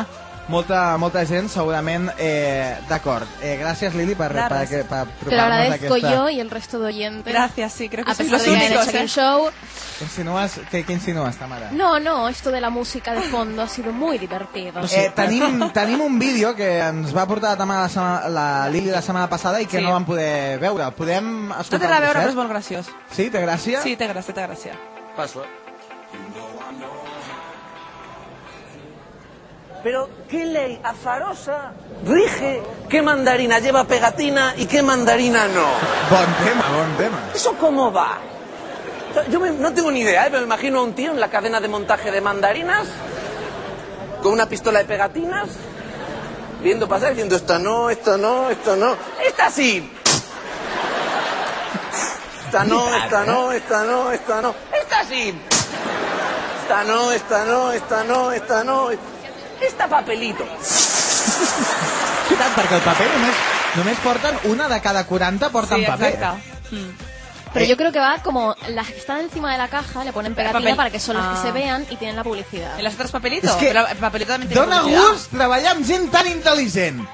Speaker 4: molta, molta gent segurament eh, d'acord. Eh, gràcies, Lili, per, per,
Speaker 5: Claro,
Speaker 4: per,
Speaker 5: sí.
Speaker 4: per
Speaker 5: Te lo
Speaker 4: apropar-nos
Speaker 5: agradezco
Speaker 4: aquesta-
Speaker 5: yo y el resto de oyentes.
Speaker 6: Gracias, sí, creo que
Speaker 5: A
Speaker 6: sois
Speaker 5: pesar
Speaker 6: los
Speaker 5: de que hayan
Speaker 6: únicos,
Speaker 5: hecho
Speaker 6: ¿eh?
Speaker 5: un show.
Speaker 4: Insinues, què, què insinues, Tamara?
Speaker 5: No, no, esto de la música de fondo ha sido muy divertido.
Speaker 4: Eh, tenim, tenim un vídeo que ens va portar la, Tamara la, sema- la Lili la setmana passada i que
Speaker 6: Sí.
Speaker 4: no vam poder veure. Podem
Speaker 6: No
Speaker 4: escoltar
Speaker 6: té res a
Speaker 4: el
Speaker 6: veure, però és
Speaker 4: concert?
Speaker 6: molt graciós.
Speaker 4: Sí, té gràcia?
Speaker 6: Sí, té gràcia, té gràcia.
Speaker 8: Passo, eh?
Speaker 19: Pero qué ley azarosa rige qué mandarina lleva pegatina y qué mandarina no.
Speaker 4: Bon tema, bon tema.
Speaker 19: ¿Eso cómo va? Yo me- no tengo ni idea, ¿eh? pero me imagino a un tío en la cadena de montaje de mandarinas con una pistola de pegatinas viendo pasar diciendo esta no, esta no, esta no, esta sí. Esta no, esta no,
Speaker 4: ¿eh?
Speaker 19: esta no, esta no, esta sí. Esta no, esta no, esta no, esta no. Esta papelito.
Speaker 4: Veritat, perquè el paper només, només porten una de cada 40 porten
Speaker 5: Sí,
Speaker 4: paper.
Speaker 5: exacte.
Speaker 6: ¿Eh?
Speaker 5: Pero yo creo que va como las que están encima de la caja le ponen pegatina
Speaker 6: papel.
Speaker 5: para que son las
Speaker 6: Ah.
Speaker 5: que se vean y tienen la publicidad.
Speaker 6: ¿Y las otras papelitos?
Speaker 4: Es que
Speaker 6: Pero el papelito también tiene
Speaker 4: Dóna
Speaker 6: publicidad.
Speaker 4: gust treballar amb gent tan intel·ligent.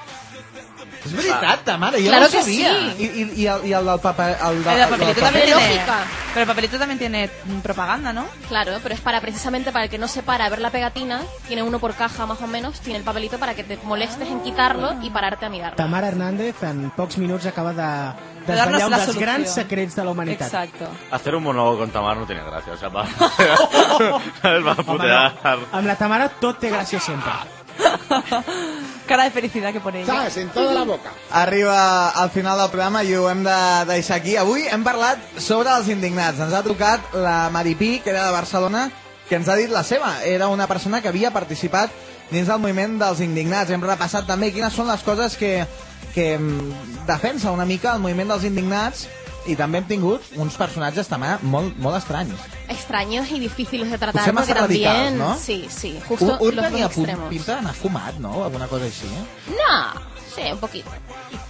Speaker 4: És veritat, ta mare, jo
Speaker 6: Claro
Speaker 4: no ho
Speaker 6: que
Speaker 4: sabia.
Speaker 6: sí.
Speaker 4: I, i, i, el, I el del paper... El,
Speaker 6: El
Speaker 4: del-
Speaker 6: del papelito
Speaker 4: del
Speaker 6: también
Speaker 4: paper.
Speaker 6: tiene... ah, Pero el papelito también tiene mm, propaganda, ¿no?
Speaker 5: Claro, pero es para precisamente para el que no se para a ver la pegatina, tiene uno por caja más o menos, tiene el papelito para que te molestes en quitarlo y pararte a mirarlo.
Speaker 7: Tamara Hernández en pocs minuts acaba de
Speaker 5: De
Speaker 7: desvetllar
Speaker 5: dar-nos
Speaker 7: un
Speaker 5: la
Speaker 7: dels
Speaker 5: solució.
Speaker 7: grans secrets de la humanitat.
Speaker 5: Exacto.
Speaker 8: Hacer un monólogo con Tamar no tiene gracia, o sea, va. ¿Sabes? Va a putear.
Speaker 7: Amb la Tamara tot té gràcia sempre.
Speaker 6: Cara de felicidad que pone ella.
Speaker 7: ¿Sabes? En toda la boca.
Speaker 4: Arriba al final del programa i ho hem de deixar aquí. Avui hem parlat sobre els indignats. Ens ha trucat la Maripí, que era de Barcelona, que ens ha dit la seva. Era una persona que havia participat dins del moviment dels indignats. Hem repassat també quines són les coses que, que mm, defensa una mica el moviment dels indignats i també hem tingut uns personatges també molt, molt estranys.
Speaker 5: Extraños y difíciles de tratar
Speaker 4: Potser
Speaker 5: porque
Speaker 4: massa radicals,
Speaker 5: también...
Speaker 4: no?
Speaker 5: Sí, sí, justo
Speaker 4: un, un
Speaker 5: los dos
Speaker 4: tenia pu-
Speaker 5: extremos.
Speaker 4: pinta d'anar fumat, no? Alguna cosa així, eh?
Speaker 5: No, sí, un poquito.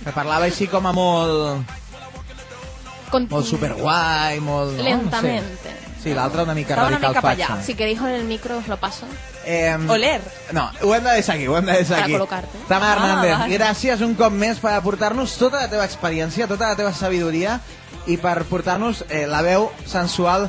Speaker 4: Que parlava així com a molt...
Speaker 5: Con-
Speaker 4: Molt superguai, molt... no?
Speaker 5: Lentamente.
Speaker 4: No sé. Sí, l'altre una mica
Speaker 5: Estaba una
Speaker 4: radical
Speaker 5: mica para
Speaker 4: fatxa.
Speaker 5: allá. Si queréis en el micro os lo paso.
Speaker 4: Eh,
Speaker 5: Oler.
Speaker 4: No, ho hem de deixar aquí, ho hem de deixar
Speaker 5: Para
Speaker 4: aquí.
Speaker 5: col·locar-te.
Speaker 4: Tamara
Speaker 5: Ah,
Speaker 4: Hernández,
Speaker 5: vale.
Speaker 4: gràcies un cop més per aportar-nos tota la teva experiència, tota la teva sabidoria i per portar-nos eh, la veu sensual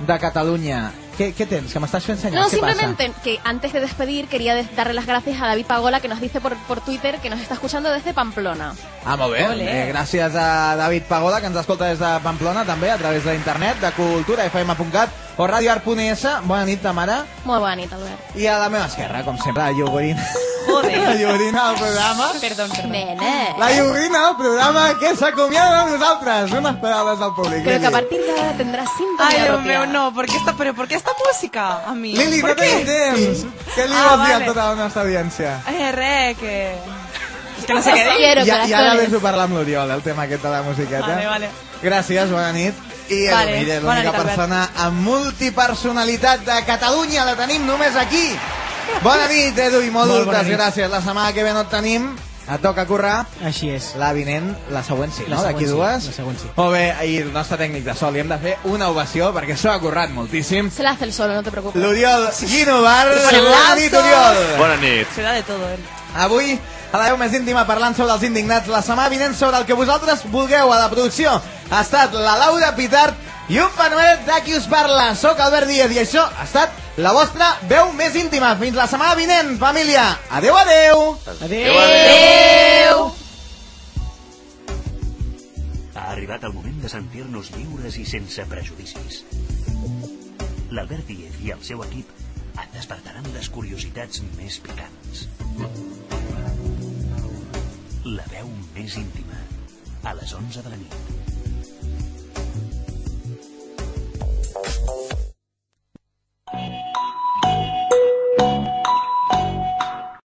Speaker 4: de Catalunya. Què, què tens? Que m'estàs fent senyals?
Speaker 5: No,
Speaker 4: què passa?
Speaker 5: simplemente que antes de despedir quería des- darle las gracias a David Pagola que nos dice por, por Twitter que nos está escuchando desde Pamplona.
Speaker 4: Ah, molt bé.
Speaker 5: Ole.
Speaker 4: Eh, gràcies a David Pagola, que ens escolta des de Pamplona, també, a través d'internet, de culturafm.cat o radioart.es. Bona nit, Tamara.
Speaker 5: Muy bonito, Albert.
Speaker 4: I a la meva esquerra, com sempre, la Llogorina. Joder. La Llogorina del programa.
Speaker 5: Perdón, perdón.
Speaker 4: La Llogorina del programa que s'acomiada de nosaltres. Unes paraules del públic.
Speaker 5: Creo que a
Speaker 4: Lili.
Speaker 5: partir de ahora tendrás síntomas.
Speaker 6: Ay, Dios mío, no, ¿por qué esta, pero ¿por qué esta música, a mí?
Speaker 4: Lili,
Speaker 6: ¿Por
Speaker 4: no
Speaker 6: qué?
Speaker 4: tenim temps. Què li
Speaker 6: Ah,
Speaker 4: vols dir a
Speaker 6: vale.
Speaker 4: tota la nostra audiència?
Speaker 6: Eh, re, que... Es que no sé qué dir.
Speaker 4: I, I ara vés a parlar amb l'Oriol, el tema aquest de la musiqueta.
Speaker 6: Vale, vale.
Speaker 4: Gràcies, bona nit. I
Speaker 6: Vale,
Speaker 4: vale, és
Speaker 6: bona
Speaker 4: l'única
Speaker 6: nit, Albert.
Speaker 4: persona amb multipersonalitat de Catalunya, la tenim només aquí. Bona nit, Edu, i
Speaker 7: Molt
Speaker 4: moltes
Speaker 7: bona nit.
Speaker 4: gràcies. La setmana que ve no et tenim, et toca currar.
Speaker 7: Així és.
Speaker 4: La vinent, la següent sí,
Speaker 7: La
Speaker 4: no? D'aquí
Speaker 7: següent
Speaker 4: dues.
Speaker 7: sí, la següent sí.
Speaker 4: Molt bé, i el nostre tècnic de sol, li hem de fer una ovació perquè s'ho ha currat moltíssim.
Speaker 5: Se la hace el solo, no te preocupes.
Speaker 4: L'Oriol Guinovar, bona
Speaker 5: Aplausos.
Speaker 4: nit, Oriol.
Speaker 8: Bona nit.
Speaker 6: Se da de eh. todo, él.
Speaker 4: Avui, a la veu més íntima, parlant sobre els indignats. La setmana vinent sobre el que vosaltres vulgueu a la producció. Ha estat la Laura Pitart i un fenomen de qui us parla. Soc Albert Díez i això ha estat la vostra veu més íntima. Fins la setmana vinent, família. Adeu, adeu.
Speaker 7: Adeu,
Speaker 1: adeu. Ha arribat el moment de sentir-nos lliures i sense prejudicis. L'Albert Díez i el seu equip et despertaran les curiositats més picants. La veu més íntima, a les 11 de la nit.